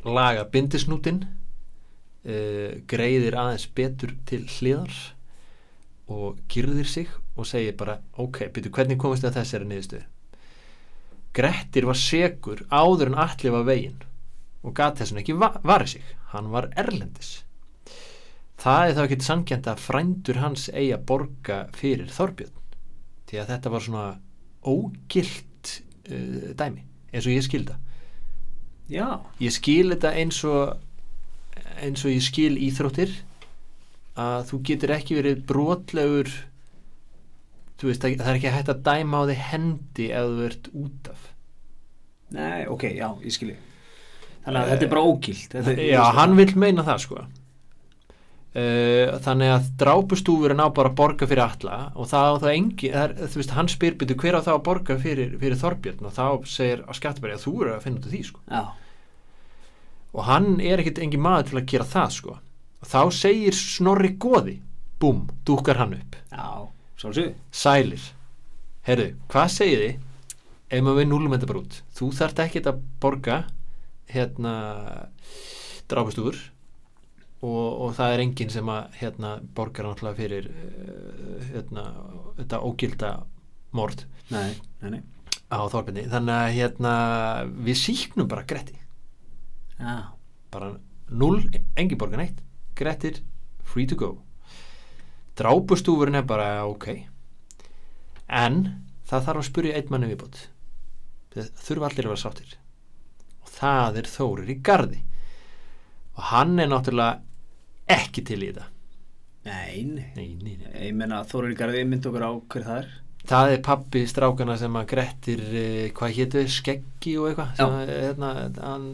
Speaker 2: laga bindisnútin uh, greiðir aðeins betur til hliðar og girðir sig og segir bara ok, byrju hvernig komist það þessari niðurstöð Grettir var segur áður en allir var veginn og gat þessum ekki va- varið sig hann var erlendis það er þá ekki sangjant að frændur hans eigi að borga fyrir Þorbjörn því að þetta var svona ógilt uh, dæmi eins og ég skilda
Speaker 1: Já,
Speaker 2: ég skil þetta eins og eins og ég skil íþróttir að þú getur ekki verið brotlegur þú veist, það það er ekki hægt að dæma á því hendi ef þú ert út af
Speaker 1: nei, ok, já, ég skilji. Þannig að þetta er bara ógilt. Þetta er-
Speaker 2: Eh, Já, hann vil meina það sko Uh, þannig að drápustúfurinn á bara að borga fyrir alla og það á það engi, það er, þú veist, hann spyr byrju hver á það að borga fyrir, fyrir Þorbjörn og þá segir að skattbæri að þú eru að finna út af því sko
Speaker 1: Já,
Speaker 2: og hann er ekkert engin maður til að gera það sko og þá segir snorri goði búm, dúkar hann upp
Speaker 1: já, svolsög.
Speaker 2: sælir, herðu, hvað segir þið ef maður við núlum þetta bara út þú þarft ekkert að borga hérna drápustúfur og, og það er enginn sem að hérna borgar náttúrulega fyrir eh, hérna, þetta ógilda mord
Speaker 1: Nei, nei, nei.
Speaker 2: á Þorbjörni þannig að hérna við síknum bara Gretti
Speaker 1: Já,
Speaker 2: bara 0, engin borgar neitt Grettir, free to go drápustúfurinn er bara ok en það þarf að spyrja einn manni viðbót það þurfa allir að vera sáttir og það er Þórir í gardi og hann er náttúrulega ekki til í þetta
Speaker 1: nei, nei.
Speaker 2: nei, nei, nei.
Speaker 1: Ég meina, Þórir Garði myndi okkur á hver það er.
Speaker 2: það er pappi strákana sem að Grettir eh, hvað hétu, skeggi og eitthvað sem að, hérna, hann,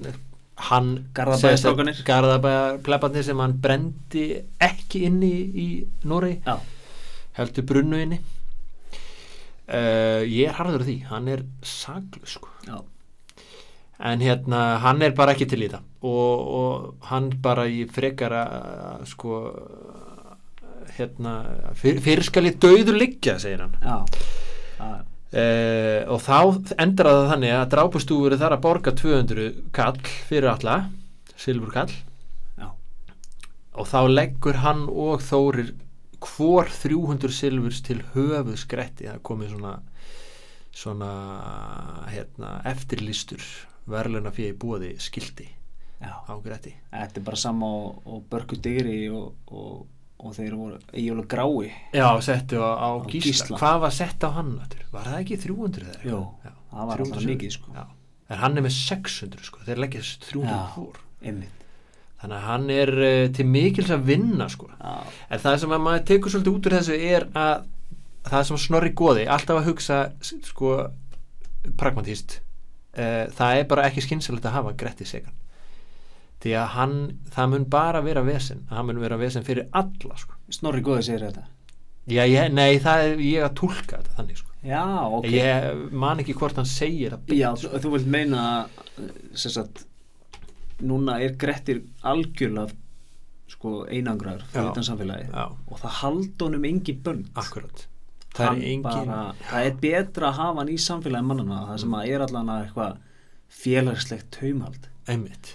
Speaker 2: hann
Speaker 1: Garðabæjarstrákarnir.
Speaker 2: Garðabæjar plebarnir sem hann brendi ekki inni í Noregi
Speaker 1: Já,
Speaker 2: heldur brunnu inni uh, ég er harður á því hann er saglu sko
Speaker 1: já,
Speaker 2: en hérna hann er bara ekki til í það og, og hann bara í frekara eh, sko hérna fyr, fyrir skal ég döður liggja segir hann
Speaker 1: já. Já,
Speaker 2: Uh, og þá endrar það þannig að drápustúfur þar að borga 200 kall fyrir alla, silfur kall
Speaker 1: já.
Speaker 2: og þá leggur hann og Þórir hvor 300 silfurs til höfuð skretti það er komið svona svona hérna, eftirlistur verðluna fyrir búaði skildi
Speaker 1: já.
Speaker 2: á gretti
Speaker 1: Þetta er bara sama og, og Börgu Digri og, og, og þeir voru Egil og Grái.
Speaker 2: já, settu á, á,
Speaker 1: Á
Speaker 2: gísla.
Speaker 1: Gísla.
Speaker 2: hvað var sett á hann? aftur? var það ekki 300 eða eitthvað?
Speaker 1: Jú,
Speaker 2: Já,
Speaker 1: það var alltaf
Speaker 2: 300 silfurs.
Speaker 1: mikið, sko.
Speaker 2: já. en hann er með 600 sko, þeir leggja þessu 300 hvor
Speaker 1: Einmitt.
Speaker 2: þannig að hann er uh, til mikils að vinna sko.
Speaker 1: Já,
Speaker 2: en það sem að maður tekur svolítið út úr þessu er að það sem snorri goði alltaf að hugsa s- sko, pragmatíst uh, það er bara ekki skynsalegt að hafa Gretti Segan því að hann, það mun bara vera vesen það mun vera vesen fyrir alla sko.
Speaker 1: Snorri Góði segir þetta.
Speaker 2: já, ég, nei, það er ég að túlka þetta þannig sko.
Speaker 1: Já, ok.
Speaker 2: ég man ekki hvort hann segir sko. að
Speaker 1: Já, þú þú vilt meina að sem sagt, núna er Grettir algjörlega sko einangraður
Speaker 2: Já.
Speaker 1: fyrir utan samfélagi
Speaker 2: Já.
Speaker 1: og það haldi honum engin bönd
Speaker 2: akkurat það er
Speaker 1: Hann
Speaker 2: engin
Speaker 1: bara, það er betra að hafa hann í samfélagi mannana það sem að er allan að eitthvað félagslegt taumhald
Speaker 2: einmitt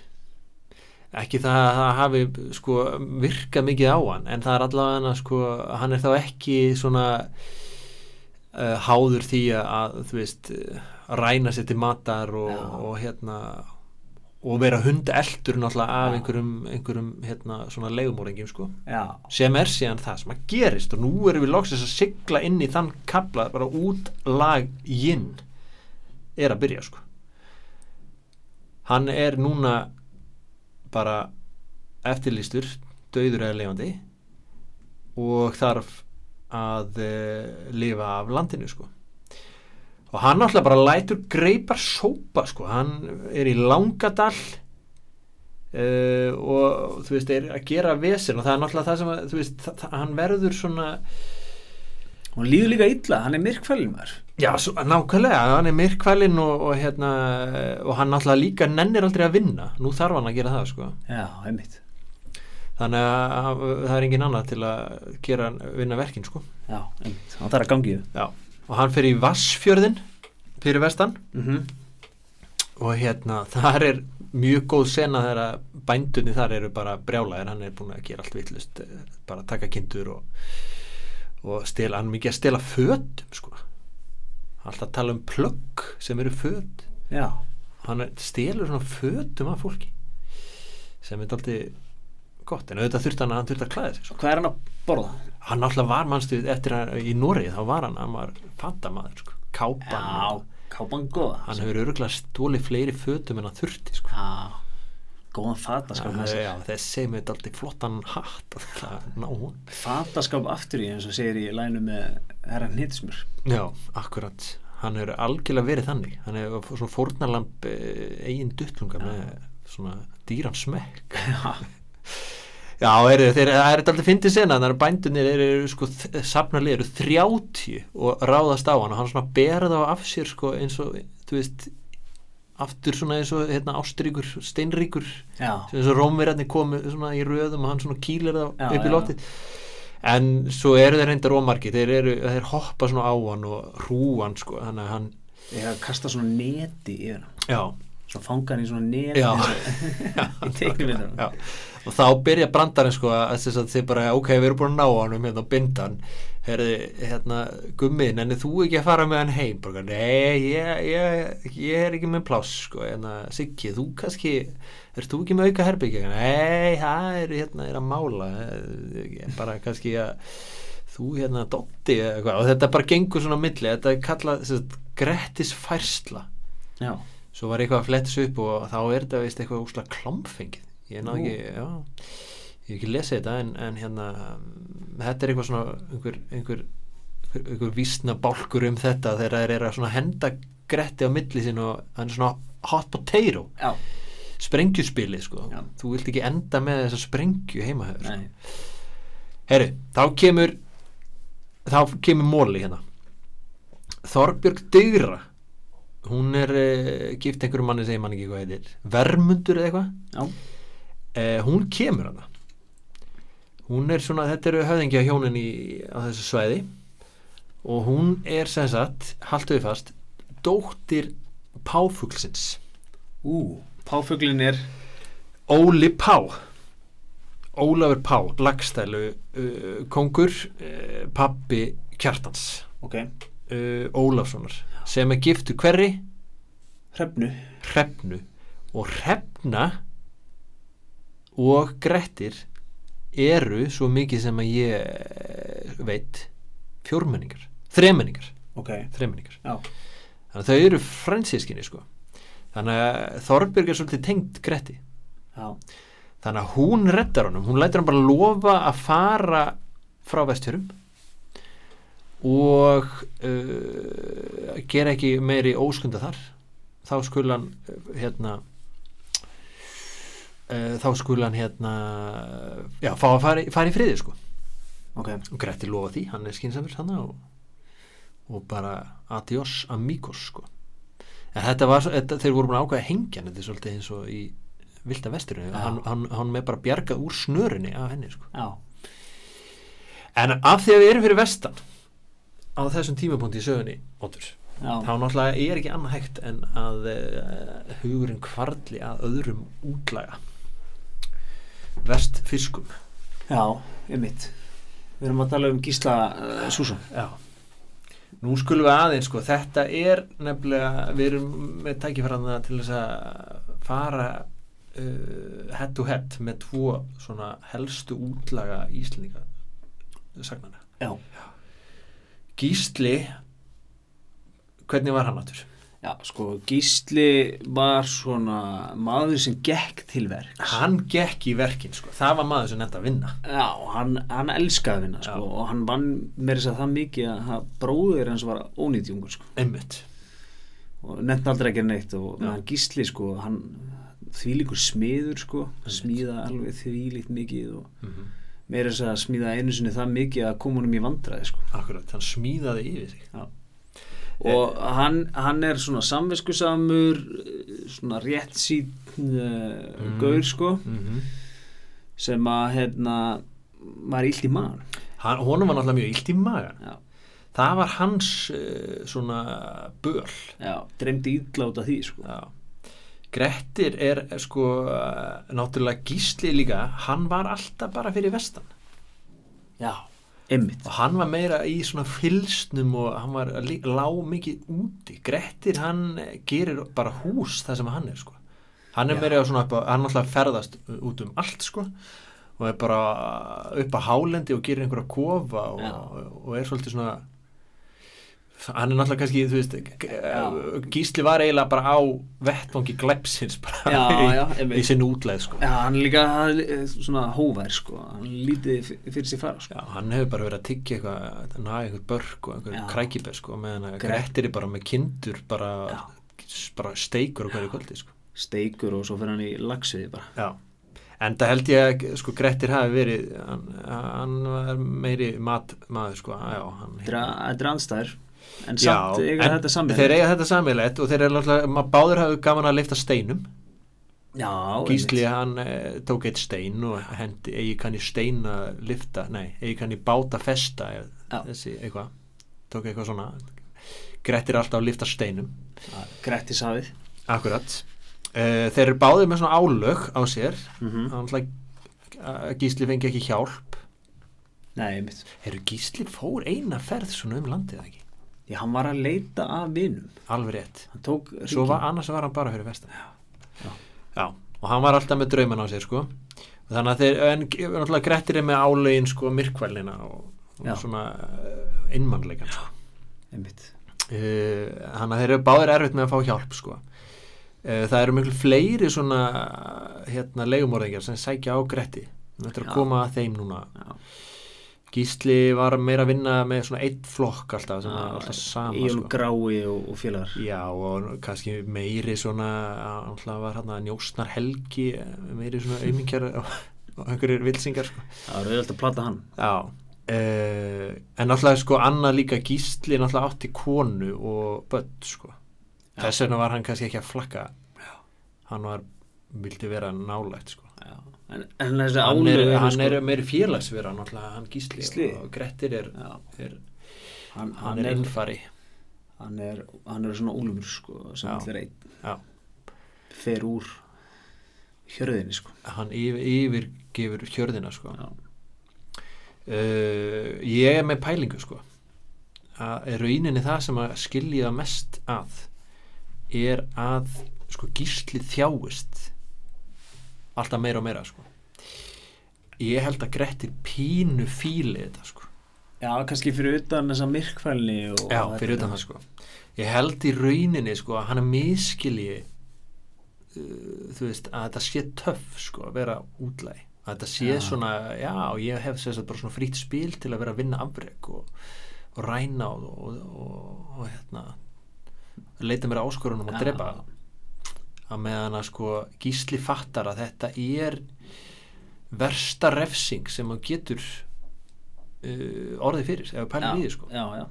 Speaker 2: ekki það að það hafi sko, virka mikið á hann en það er allavega sko, hann er þá ekki svona uh, háður því að þú veist, eh, ræna sér til matar og,
Speaker 1: Já.
Speaker 2: og hérna og vera hunda eldur náttúrulega af
Speaker 1: Já.
Speaker 2: einhverjum, einhverjum hérna, svona leigumóringim sko
Speaker 1: Já,
Speaker 2: sem er síðan það sem að gerist og nú erum við loksins að sigla inn í þann kapla bara út lag jinn er að byrja sko hann er núna bara eftirlýstur döður eða lifandi og þarf að uh, lifa af landinu sko og hann náttúrulega bara lætur greipar sópa sko, hann er í langadal uh, og þú veist, er að gera vesen og það er náttúrulega það sem að, þú veist, það, hann verður svona
Speaker 1: hún líður líka illa, hann er myrkfælumar
Speaker 2: já, svo, nákvæmlega, hann er myrkvælinn og, og hérna, og hann náttúrulega líka nennir aldrei að vinna, nú þarf hann að gera það sko,
Speaker 1: já, einmitt
Speaker 2: þannig að hann- það er engin annað til að gera, vinna verkin sko,
Speaker 1: já, einmitt, hann þarf að gangi
Speaker 2: já og hann fer í Vassfjörðin fyrir vestan
Speaker 1: mm -hmm.
Speaker 2: og hérna (laughs) þar er mjög góð sena þegar að bændunni þar eru bara brjálaðir hann er búin að gera allt vitlust bara taka kindur og, og stela, hann er mikið að stela fötum sko alltaf tala um plögg sem eru föt
Speaker 1: já,
Speaker 2: hann er- stelur svona fötum af fólki sem er daldið gott en auðvitað þurft hann að hann þurft að klæða sig sko.
Speaker 1: hvað er hann að borða?
Speaker 2: hann alltaf var mannstu eftir að í Noregi þá var hann, hann var fatamaður sko, kápan
Speaker 1: já, kápan góða
Speaker 2: hann hefur örgulega stólið fleiri fötum en hann þurfti sko
Speaker 1: já, góðan fataskap með
Speaker 2: Já,
Speaker 1: sér.
Speaker 2: já, þessi með þetta aldrei flottan hatt og það ná hún
Speaker 1: fataskap aftur í eins og segir í lænu með herra hnitsmur
Speaker 2: Já, akkurat Hann hefur algjörlega verið þannig Hann hefur svona fórnalamb eh, eigin duttlunga með svona dýran smekk
Speaker 1: já,
Speaker 2: Já, er, þeir, það er aldrei fyndið sena þannig að bændunir eru, eru sko safnarlega eru 30 og ráðast á hann og hann svona berð á af sér sko eins og, þú veist aftur svona eins og hérna, ástríkur steinríkur
Speaker 1: já,
Speaker 2: eins og rómverjarnir komu svona í röðum og hann svona kýlir
Speaker 1: Já,
Speaker 2: það upp
Speaker 1: já,
Speaker 2: í loftið en svo eru þeir reyndar ómargi þeir, eru, þeir hoppa svona á hann og hrúan sko, þannig að hann
Speaker 1: ég hef að kasta svona neti yfir hann
Speaker 2: já,
Speaker 1: svo fanga hann í svona neti (laughs)
Speaker 2: Já. (laughs)
Speaker 1: í teiknumyndunum.
Speaker 2: já, og þá byrja brandarinn sko að þess að þeir bara ok, við erum búin að ná hann um hérna og binda hann herði, hérna, gummi en þú ekki að fara með hann heim bara, nei, ég, ég, ég er ekki með pláss sko, hérna, Siggi, þú kannski ert þú ekki með auka herbyggja nei, það er hérna, er að mála eh, bara kannski að þú hérna, Dotti eða eitthvað og þetta bara gengur svona á milli, þetta er kallað sem sagt, grettisfærsla
Speaker 1: já,
Speaker 2: svo var eitthvað að fletta þessu upp og þá er þetta veist eitthvað úsla klámfengið ég er
Speaker 1: Nú.
Speaker 2: ekki, já ég hef ekki lesið þetta en, en hérna um, þetta er eitthvað svona einhver, einhver, einhver, einhver vísna bálkur um þetta þegar þeir eru að svona henda gretti á milli sín og hann er svona hot potato
Speaker 1: já,
Speaker 2: sprengjuspili sko
Speaker 1: Já.
Speaker 2: þú vilt ekki enda með þessa sprengju heima sko. hefur
Speaker 1: nei
Speaker 2: Herru, þá kemur þá kemur móli hérna Þorbjörg Dygra hún er uh, gift einhverjum manni segir manni ekki hvað heitir Vermundur eða eitthvað
Speaker 1: já,
Speaker 2: eh, hún kemur hana hún er svona, þetta eru höfðingja hjónin í, á þessu svæði og hún er sem sagt haltu við fast, dóttir páfuglsins
Speaker 1: ú, páfuglin er
Speaker 2: Óli Pá Ólafur Pá, lagstælu uh, kongur uh, pappi kjartans
Speaker 1: ok,
Speaker 2: uh, Ólafssonar sem er giftur hverri
Speaker 1: hrefnu
Speaker 2: hrefnu og hrefna og grettir eru svo mikið sem að ég veit fjórmenningar, þremenningar
Speaker 1: ok,
Speaker 2: þremenningar,
Speaker 1: já,
Speaker 2: þannig að þau eru fransískinni sko, þannig að Þorbjörg er svolítið tengd gretti
Speaker 1: já,
Speaker 2: þannig að hún reddar honum hún lætur hann bara lofa að fara frá vestfjörum og uh, gera ekki meiri óskunda þar þá skul hann uh, hérna uh, þá skul hann hérna já, fá að fara, í- fara í friði sko
Speaker 1: ok
Speaker 2: og Gretti lofa því, hann er skynsamur hann og, og bara adios amigos sko en þetta var, svo- þetta, þeir voru búin að ákveða að hengja hann, þetta er svolítið eins og í vilda vesturinu,
Speaker 1: Já.
Speaker 2: hann, hann, hann með bara bjargað úr snörunni af henni sko
Speaker 1: já,
Speaker 2: en af því að við erum fyrir vestan á þessum tímapunkti í sögunni Oddur, þá
Speaker 1: já,
Speaker 2: náttúrulega er ekki annað hægt en að uh, hugurinn kvarli að öðrum útlaga vestfiskum
Speaker 1: já, einmitt við erum að tala um Gísla uh, Súsan
Speaker 2: Já Nú skulum við aðeins sko, þetta er nefnilega, við erum með tækifæraðna til þess að fara uh, head to head með tvo svona helstu útlaga íslendinga sagnana.
Speaker 1: já,
Speaker 2: Gísli, hvernig var hann áttur?
Speaker 1: Já, sko, Gísli var svona maður sem gekk til verk.
Speaker 2: hann gekk í verkin sko. það var maður sem nefndi að vinna
Speaker 1: Já, hann, hann elskaði vinna, sko,
Speaker 2: Já.
Speaker 1: og hann vann meira þess að það mikið að hann- bróðir hans var ónýtjungur, sko,
Speaker 2: einmitt
Speaker 1: og nefndi aldrei að gera neitt og
Speaker 2: Já.
Speaker 1: hann Gísli, sko, hann þvílíkur smiður, sko, smíða alveg þvílíkt mikið og
Speaker 2: mm
Speaker 1: meira þess að smíða einu sinni það mikið að koma honum í vandræði, sko.
Speaker 2: akkurat, hann smíðaði yfir sig
Speaker 1: Já. Og hann, hann er svona samviskusamur, svona rétt sín uh,
Speaker 2: Mm.
Speaker 1: gaur, sko.
Speaker 2: mm
Speaker 1: sem að hérna maður illt í maður
Speaker 2: hann, honum var náttúrulega mjög illt í magan
Speaker 1: já,
Speaker 2: það var hans uh, svona böl
Speaker 1: já, dreymdi illa út af því sko.
Speaker 2: Já. Grettir er er, sko eh, náttúrulega gísli líka hann var alltaf bara fyrir vestan
Speaker 1: já, einmitt
Speaker 2: og hann var meira í svona fylsnum og hann var lí- lá mikið úti Grettir hann eh, gerir bara hús það sem hann er sko hann er
Speaker 1: Já.
Speaker 2: meira svona upp á, hann alltaf ferðast út um allt sko og er bara upp á hálendi og gerir einhverja kofa og,
Speaker 1: Já.
Speaker 2: og er svolítið svona hann er náttúrulega kannski, þú veist g-
Speaker 1: Já.
Speaker 2: Gísli var eiginlega bara á vettvangi glepsins bara
Speaker 1: Já,
Speaker 2: í,
Speaker 1: já, einmitt.
Speaker 2: í sinni útleið sko
Speaker 1: já, hann er líka hann er eh, svona hóvær sko. hann lítið f- fyrir sér fara sko.
Speaker 2: Já, hann hefur bara verið að tyggja eitthvað, að naga eitthvað börk og
Speaker 1: Já.
Speaker 2: einhver krækibær sko, meðan að
Speaker 1: Gre-
Speaker 2: Grettir er bara með kindur, bara, bara steikur og hverju kvöldi sko.
Speaker 1: steikur og svo fyrir hann í lagsuði bara
Speaker 2: Já. En það held ég að sko Grettir hafi verið, hann, hann var meiri matmaður sko, já, hann
Speaker 1: Þetta er að- þetta er andstæður en
Speaker 2: Já,
Speaker 1: samt eiga
Speaker 2: en
Speaker 1: þetta samið
Speaker 2: Þeir eiga þetta sammeilegt og þeir eru alltaf, maður báður hafi gaman að leifta steinum.
Speaker 1: já,
Speaker 2: Gísli
Speaker 1: einmitt.
Speaker 2: hann eh, tók eitt stein og hendi eigi kann í stein að lifta, nei, eigi kann í báta festa eða
Speaker 1: Já.
Speaker 2: þessi eitthvað tók eitthvað svona grettir alltaf að lifta steinum
Speaker 1: Já, Gretti safið
Speaker 2: akkurat uh, þeir eru báðið með svona álög á sér
Speaker 1: mm -hmm.
Speaker 2: hann alltaf Gísli fengi ekki hjálp
Speaker 1: nei, einmitt
Speaker 2: eru Gísli fór eina ferð svona um landið eða ekki,
Speaker 1: já, hann var að leita að vinum
Speaker 2: alveg rétt
Speaker 1: hann tók
Speaker 2: svo
Speaker 1: hringinn.
Speaker 2: var, annars var hann bara fyrir vestan
Speaker 1: Já.
Speaker 2: já, og hann var alltaf með drauman á sér sko og þannig að þeir, en náttúrulega Grettir er með álegin sko myrkvælina og,
Speaker 1: Já.
Speaker 2: og svona uh, innmannleikan sko.
Speaker 1: einmitt
Speaker 2: uh, þannig að þeir eru báðir erfitt með að fá hjálp sko uh, það eru miklu fleiri svona hérna legumorðingar sem sækja á Gretti þetta er
Speaker 1: Já.
Speaker 2: að koma að þeim núna
Speaker 1: Já.
Speaker 2: Gísli var meira að vinna með svona eitt flokk alltaf sem var alltaf sama sko.
Speaker 1: Íon Grái og, og félagar
Speaker 2: Já og kannski meiri svona alltaf var hann að njósnar helgi meiri svona aumingjar og, og einhverjir vilsingar sko.
Speaker 1: það var auðvitað að plata hann
Speaker 2: Já uh, en alltaf sko annað líka gísli alltaf átti konu og börn sko.
Speaker 1: Já.
Speaker 2: þess vegna var hann kannski ekki að flakka hann var vildi vera nálægt sko.
Speaker 1: Já, en, en þessi sko.
Speaker 2: hann, er,
Speaker 1: álög
Speaker 2: hann er um- meiri félagsvera náttúrulega hann gísli,
Speaker 1: Gísli?
Speaker 2: og Grettir er,
Speaker 1: Já.
Speaker 2: er
Speaker 1: hann,
Speaker 2: hann er um- innfari
Speaker 1: hann er, hann er svona úlfur sko, sem
Speaker 2: Já.
Speaker 1: allir einn
Speaker 2: Já.
Speaker 1: fer úr hjörðinni sko.
Speaker 2: hann yfir, yfirgefur hjörðina sko.
Speaker 1: Já.
Speaker 2: uh, ég er með pælingu sko að er rauninni það sem að skilja mest að er að sko gísli þjáist alltaf meira og meira sko ég held að Grettir pínu fíli þetta sko
Speaker 1: Já, kannski fyrir utan þessa myrkfælni og
Speaker 2: já,
Speaker 1: og
Speaker 2: fyrir
Speaker 1: þetta.
Speaker 2: utan það sko ég held í rauninni sko að hann er miskilji uh, þú veist að þetta sé töff sko að vera útlæg að þetta sé
Speaker 1: Já.
Speaker 2: svona, já ég hef þess að bara svona frýtt spil til að vera að vinna afreg og, og ræna og, og, og, og hérna leita mér að áskorunum og
Speaker 1: Já.
Speaker 2: drepa að meðan að sko gísli fattar að þetta er versta refsing sem hann getur uh, orðið fyrir ef við pælum í því sko
Speaker 1: Já, já,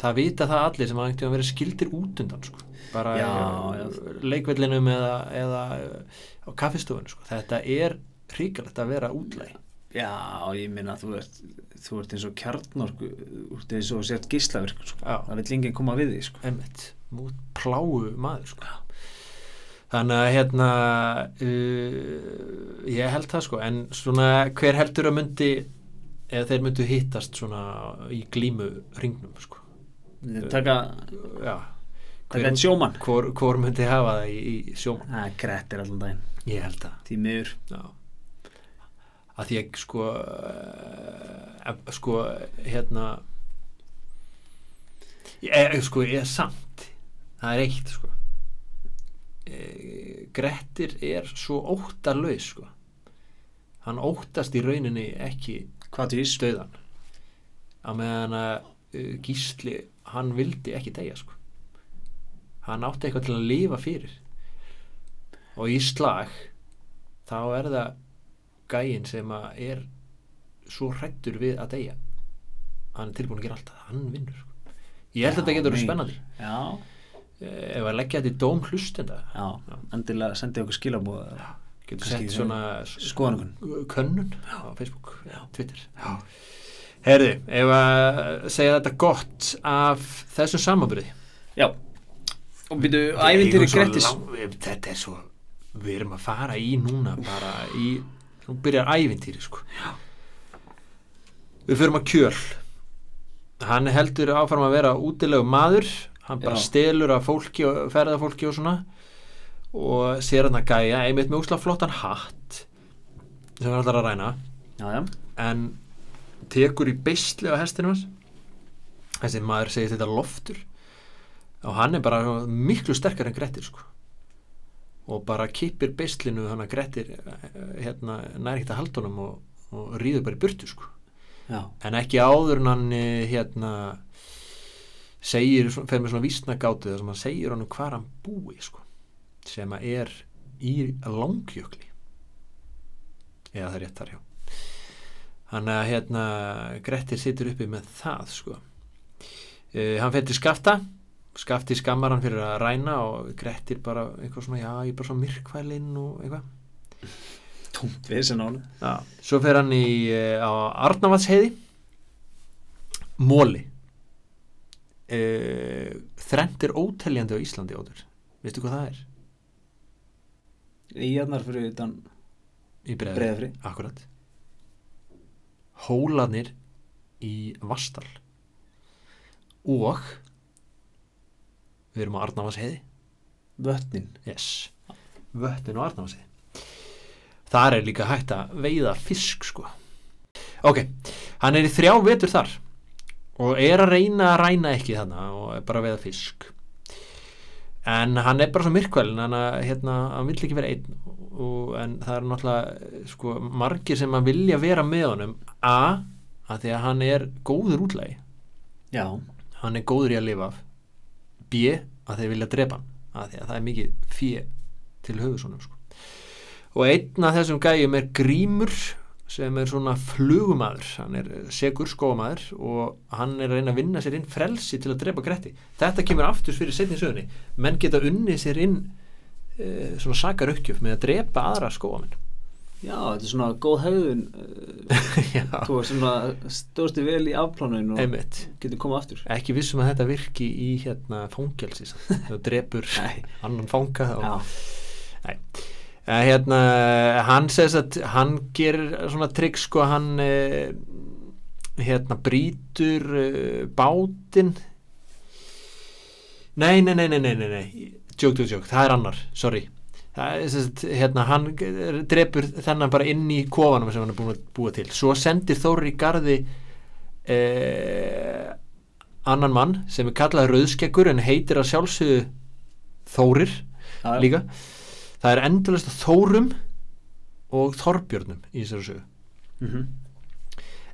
Speaker 2: það vita það allir sem hafa einhvern veginn verið skildir út undan sko. bara
Speaker 1: Já,
Speaker 2: já, leikvellinum eða, eða á kaffistofunum sko. þetta er hrikalegt að vera útlæg
Speaker 1: já, ég minna þú ert þú ert eins og kjarnorku þú ert eins og sért gíslaverk sko.
Speaker 2: Já.
Speaker 1: það vil enginn koma við því sko.
Speaker 2: emmitt, mút pláu maður sko. þannig að hérna uh, ég held það sko en svona hver heldur að myndi eða þeir myndu hittast svona í glímu ringnum sko.
Speaker 1: taka,
Speaker 2: já
Speaker 1: taka einn sjómann
Speaker 2: hvor, hvor myndi hafa það í, í sjóman
Speaker 1: það grettir allan daginn,
Speaker 2: ég held það
Speaker 1: því miður
Speaker 2: Já að því að sko eh, ef- sko hérna ég, eh, sko ég er samt það er eitt sko e, Grettir er svo óttalöð sko hann óttast í rauninni ekki
Speaker 1: Hvað tís?
Speaker 2: döðan að meðan að uh, Gísli hann vildi ekki degja sko hann átti eitthvað til að lifa fyrir og í slag þá er það gæinn sem að er svo hrættur við að degja hann er tilbúin að gera alltaf, hann vinnur sko. ég held að þetta getur verið spennandi
Speaker 1: Já,
Speaker 2: Eh, ef að leggja þetta í dóm hlustenda
Speaker 1: já, endilega sendið okkur skilabóð
Speaker 2: getur
Speaker 1: Kannski
Speaker 2: sett svona
Speaker 1: skoðanakun
Speaker 2: könnun á Facebook, Twitter Herði, ef að segja þetta gott af þessum samanbyrði
Speaker 1: Já, og byrju ævindir í Grettis
Speaker 2: Þetta er svo við erum að fara í núna bara í, nú byrjar ævintýri sko Við förum að kjöl Hann heldur áfram að vera útilegu maður hann bara
Speaker 1: Já.
Speaker 2: stelur af fólki og ferðafólki og svona og sér hann að gæja einmitt með úsla flottan hatt sem hann ætlar að ræna
Speaker 1: Já, já,
Speaker 2: en tekur í beisli á hestinu hans þessi maður segir þetta loftur og hann er bara miklu sterkar en Grettir sko og bara kipir beislinu þannig að Grettir eh, hérna, nær ekkert að halda honum og, og rýður bara í burtu sko
Speaker 1: já,
Speaker 2: en ekki áður en hann eh, hérna segir, fer með svona vísnagátu þar sem hann segir honum hvar hann búi sko, sem að er í langjökli eða það er rétt þar hjá hann að hérna Grettir situr uppi með það sko uh, hann fer til skafta skafti skammar hann fyrir að ræna og Grettir bara eitthvað svona, já ég er bara svona myrkvælinn og eitthvað
Speaker 1: tómt við sem náli
Speaker 2: Já. Svo fer hann í, eh, á Arnavatsheiði Móli uh, Þrend er óteljandi á Íslandi áður Veistu hvað það er?
Speaker 1: Íjarnar fyrir utan
Speaker 2: Í Breiðafri
Speaker 1: breiðafri
Speaker 2: Akkurat Hólanir í Vastal Og Við erum á Arnavatsheiði
Speaker 1: Vötnin
Speaker 2: Yes Vötnin og Arnási Þar er líka hægt að veiða fisk sko Ok, hann er í þrjá vetur þar og er að reyna að ræna ekki þarna og er bara að veiða fisk en hann er bara svo myrkvælin hann, að, hérna, hann vill ekki vera einn og, en það er náttúrulega eh, sko, margir sem að vilja vera með honum a, að því að hann er góður útlægi
Speaker 1: Já,
Speaker 2: hann er góður í að lifa af B, að þeir vilja drepa hann að því að það er mikið fjö til höfusónum sko. og einn af þessum gæjum er Grímur sem er svona flugumadur hann er eh, segur skómaður og hann er að reyna að vinna sér inn frelsi til að drepa Gretti þetta kemur aftur fyrir setni sögunni menn geta unnið sér inn e, svona sakaraukjöf með að drepa aðra skóamenn
Speaker 1: já, þetta er svona góð hegðun eh,
Speaker 2: (laughs) Já,
Speaker 1: Þú er svona stóðstu vel í afplánun og
Speaker 2: einmitt
Speaker 1: getur komað aftur
Speaker 2: ekki vissum að þetta virki í hérna fangelsi samt. þú drepur
Speaker 1: Nei.
Speaker 2: annan fanga og,
Speaker 1: Já,
Speaker 2: Nei. Eh, Hérna, hann segist að hann gerir svona trygg sko hann eh, hérna brýtur eh, bátinn nei, nei, nei, nei, nei, nei, nei. Jók, jók, jók, það er annar, sorry það er sem sagt, hérna, hann eh, drepur þennan bara inn í kofanum sem hann er búin að búa til svo sendir Þóri í garði eh, annan mann sem er kallað Rauðskeggur en heitir að sjálfsögðu Þórir
Speaker 1: Já, já.
Speaker 2: líka það er endalist af Þórum og Þorbjörnum í þessari sögu
Speaker 1: mhm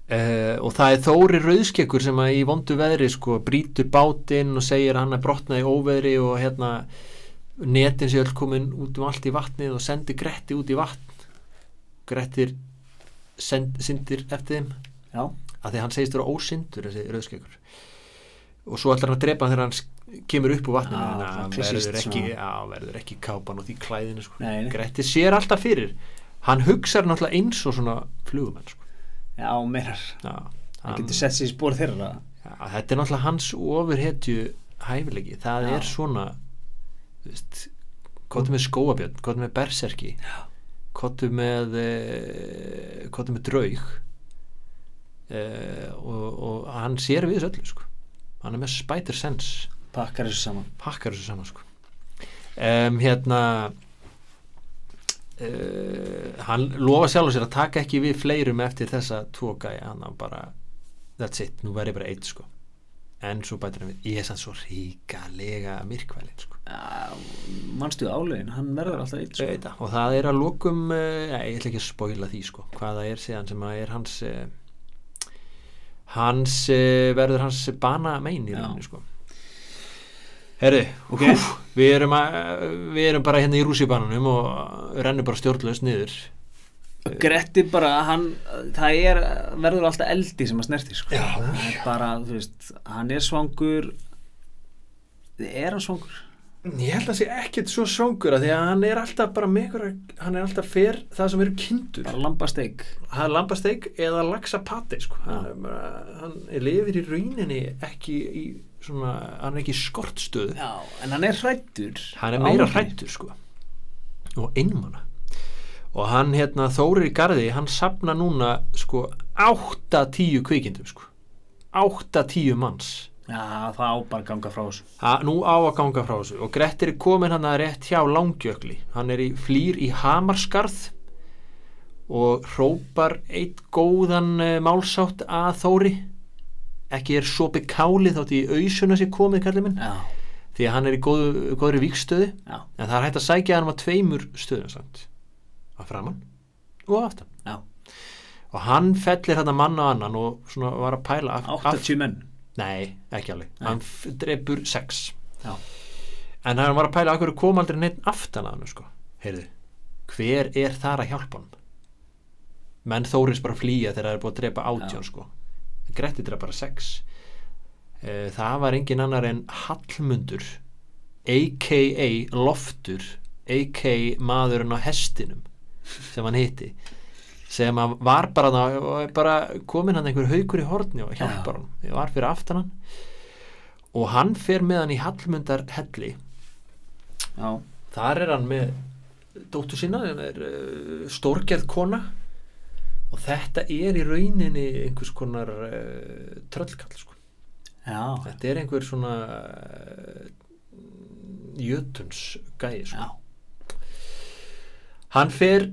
Speaker 2: Uh, og það er Þóri Rauðskekkur sem að í vondu veðri sko brýtur bátinn og segir að hann er brotnaði óveðri og hérna netin sér öll komin út um allt í vatnið og sendir Gretti út í vatn Grettir send, sindir eftir þeim
Speaker 1: Já,
Speaker 2: að því að hann segist vera ósindur þessi rauðskekur og svo ætlar hann að drepa hann þegar hann s- kemur upp úr vatninu
Speaker 1: Já,
Speaker 2: en
Speaker 1: svona
Speaker 2: hann
Speaker 1: klassískt
Speaker 2: verður ekki,
Speaker 1: svona.
Speaker 2: á, verður ekki kápan og því klæðinu sko.
Speaker 1: Nei, nei.
Speaker 2: Gretti sér alltaf fyrir hann hugsar náttúrulega eins og svona flugumenn sko.
Speaker 1: já, meinar
Speaker 2: já,
Speaker 1: Það
Speaker 2: hann,
Speaker 1: getur sett sér í spór þeirra
Speaker 2: já, þetta er náttúrulega hans ofurhetju hæfilegi, það
Speaker 1: Já.
Speaker 2: er svona þú veist kottu með skóabjörn, kottu með berserki kottu með eh, kottu með draug eh, og, og hann sér við þessu öllu sko. hann er með spider sense
Speaker 1: Pakkar þessu saman
Speaker 2: pakkar þessu saman sko. um, hérna uh, hann lofa sjálfur sér að taka ekki við fleirum eftir þessa tvo gæja hann á bara that's it, nú verð ég bara eitt sko. en svo bætir hann við ég er sann svo ríkalega myrkvælin sko.
Speaker 1: Ja, manstu álegin, hann verður alltaf sko. eitt
Speaker 2: Ég veit það. og það er að lokum eh, ég ætla ekki að spoila því sko, hvað það er síðan sem að er hans eh, hans eh, verður hans bana mein í
Speaker 1: Já.
Speaker 2: rauninni sko. herri
Speaker 1: Ok.
Speaker 2: húf, við, erum að, við erum bara hérna í rússibananum og rennum bara stjórnlaust niður
Speaker 1: Gretti bara, hann, það er, verður alltaf eldi sem að snerti sko.
Speaker 2: Já.
Speaker 1: það er bara, þú veist, hann er svangur er hann svangur?
Speaker 2: ég held að sé ekkit svo svangur að því að hann er alltaf bara með ykkur hann er alltaf fer það sem eru kindur
Speaker 1: bara lambasteik
Speaker 2: það er lambasteik eða laxapati sko. hann, er bara- hann lifir í rauninni ekki í svona, hann er ekki í skortstöðu
Speaker 1: Já, en hann er hrættur
Speaker 2: hann er meira hrættur sko og einmana og hann hérna Þórir í Garði hann sapna núna sko 8-10 kvikindum sko 8-10 manns
Speaker 1: Já, það á bara að ganga frá þessu
Speaker 2: ha, nú á að ganga frá þessu og Grettir er komin hann að rétt hjá Langjökli hann er í flýr í Hamarskarð og hrópar eitt góðan uh, málsátt að Þóri ekki er sopi káli þátt í ausuna sér komið kallið minn
Speaker 1: Já,
Speaker 2: því að hann er í góð, góðri vikstöðu
Speaker 1: já,
Speaker 2: en það er hægt að sækja hann um á tveimur stöðum samt að framann og að aftan
Speaker 1: já
Speaker 2: og hann fellir þetta mann og annan og svona var að pæla af, af,
Speaker 1: 80 menn
Speaker 2: nei, ekki alveg, hann f- drepur sex
Speaker 1: Já,
Speaker 2: en hann var að pæla af hverju kom aldrei neitt aftan að hann sko. heyrðu, hver er þar að hjálpa hann menn Þóris bara flýja þegar það er búið að drepa átján sko. Gretti drepa bara sex Eh, það var engin annar en Hallmundur a.k.a. Loftur a.k.a. maðurinn á hestinum sem hann hitti sem að var bara, þarna og er bara komin hann einhver haukur í horni og hjálpar hann ég var fyrir aftan hann og hann fer með hann í Hallmundar helli
Speaker 1: já,
Speaker 2: þar er hann með dóttur sína sem er uh, stórgerð kona og þetta er í rauninni einhvers konar uh, tröllkall sko.
Speaker 1: já,
Speaker 2: þetta er einhver svona uh, jötuns gæi sko.
Speaker 1: já.
Speaker 2: hann fer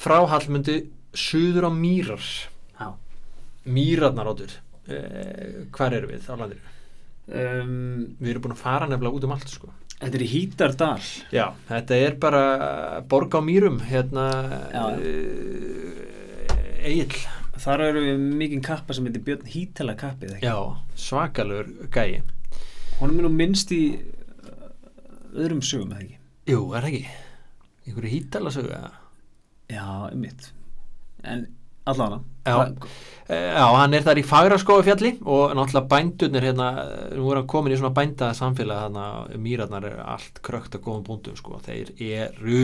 Speaker 2: frá Hallmundi suður á Mýrar
Speaker 1: já.
Speaker 2: Mýrarnar áttur uh, hvar erum við á landinu?
Speaker 1: Um,
Speaker 2: Við erum búin að fara nefnilega út um allt sko.
Speaker 1: Þetta er í Hítardal
Speaker 2: Já, þetta er bara borg á mýrum hérna
Speaker 1: Já, já.
Speaker 2: uh, Egil
Speaker 1: Þar eru við mikinn kappa sem heitir Björn Hítala kappið ekki?
Speaker 2: Já, svakalur gæi
Speaker 1: Honum er nú minnst í uh, öðrum sögum eða ekki
Speaker 2: Jú, er það ekki einhverju hítala sögu eða?
Speaker 1: Já, mitt En allan
Speaker 2: Já. Eh, Já, hann er þar í Fagraskói fjalli og náttúrulega bændurnir hérna, nú er hann komin í svona bænda samfélag þannig að mýrarnar er allt krökt að góðum búndum sko, þeir eru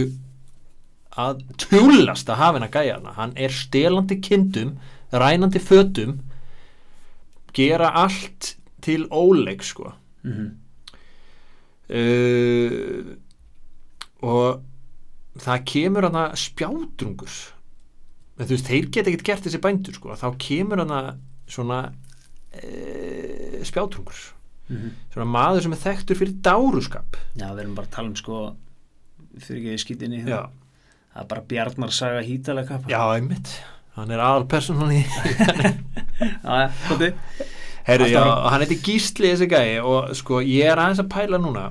Speaker 2: að tjúlast að hafa hennar gæja hana, hann er stelandi kindum, rænandi fötum gera allt til óleik sko
Speaker 1: mm -hmm.
Speaker 2: uh, og það kemur hana spjátrungur en þú veist, þeir geta ekkert gert þessi bændur sko, þá kemur hana svona uh, spjátrungur svona maður sem er þekktur fyrir dáruskap
Speaker 1: Já, við erum bara að tala um sko fyrir ekki skýtinni
Speaker 2: já,
Speaker 1: Það er bara Bjarnar saga Hítala kappa
Speaker 2: já, einmitt hann er aðal personan í
Speaker 1: já, já,
Speaker 2: (laughs) Herri,
Speaker 1: Alltaf
Speaker 2: já,
Speaker 1: rangt.
Speaker 2: og hann heiti Gísli þessi gæi og sko, ég er aðeins að pæla núna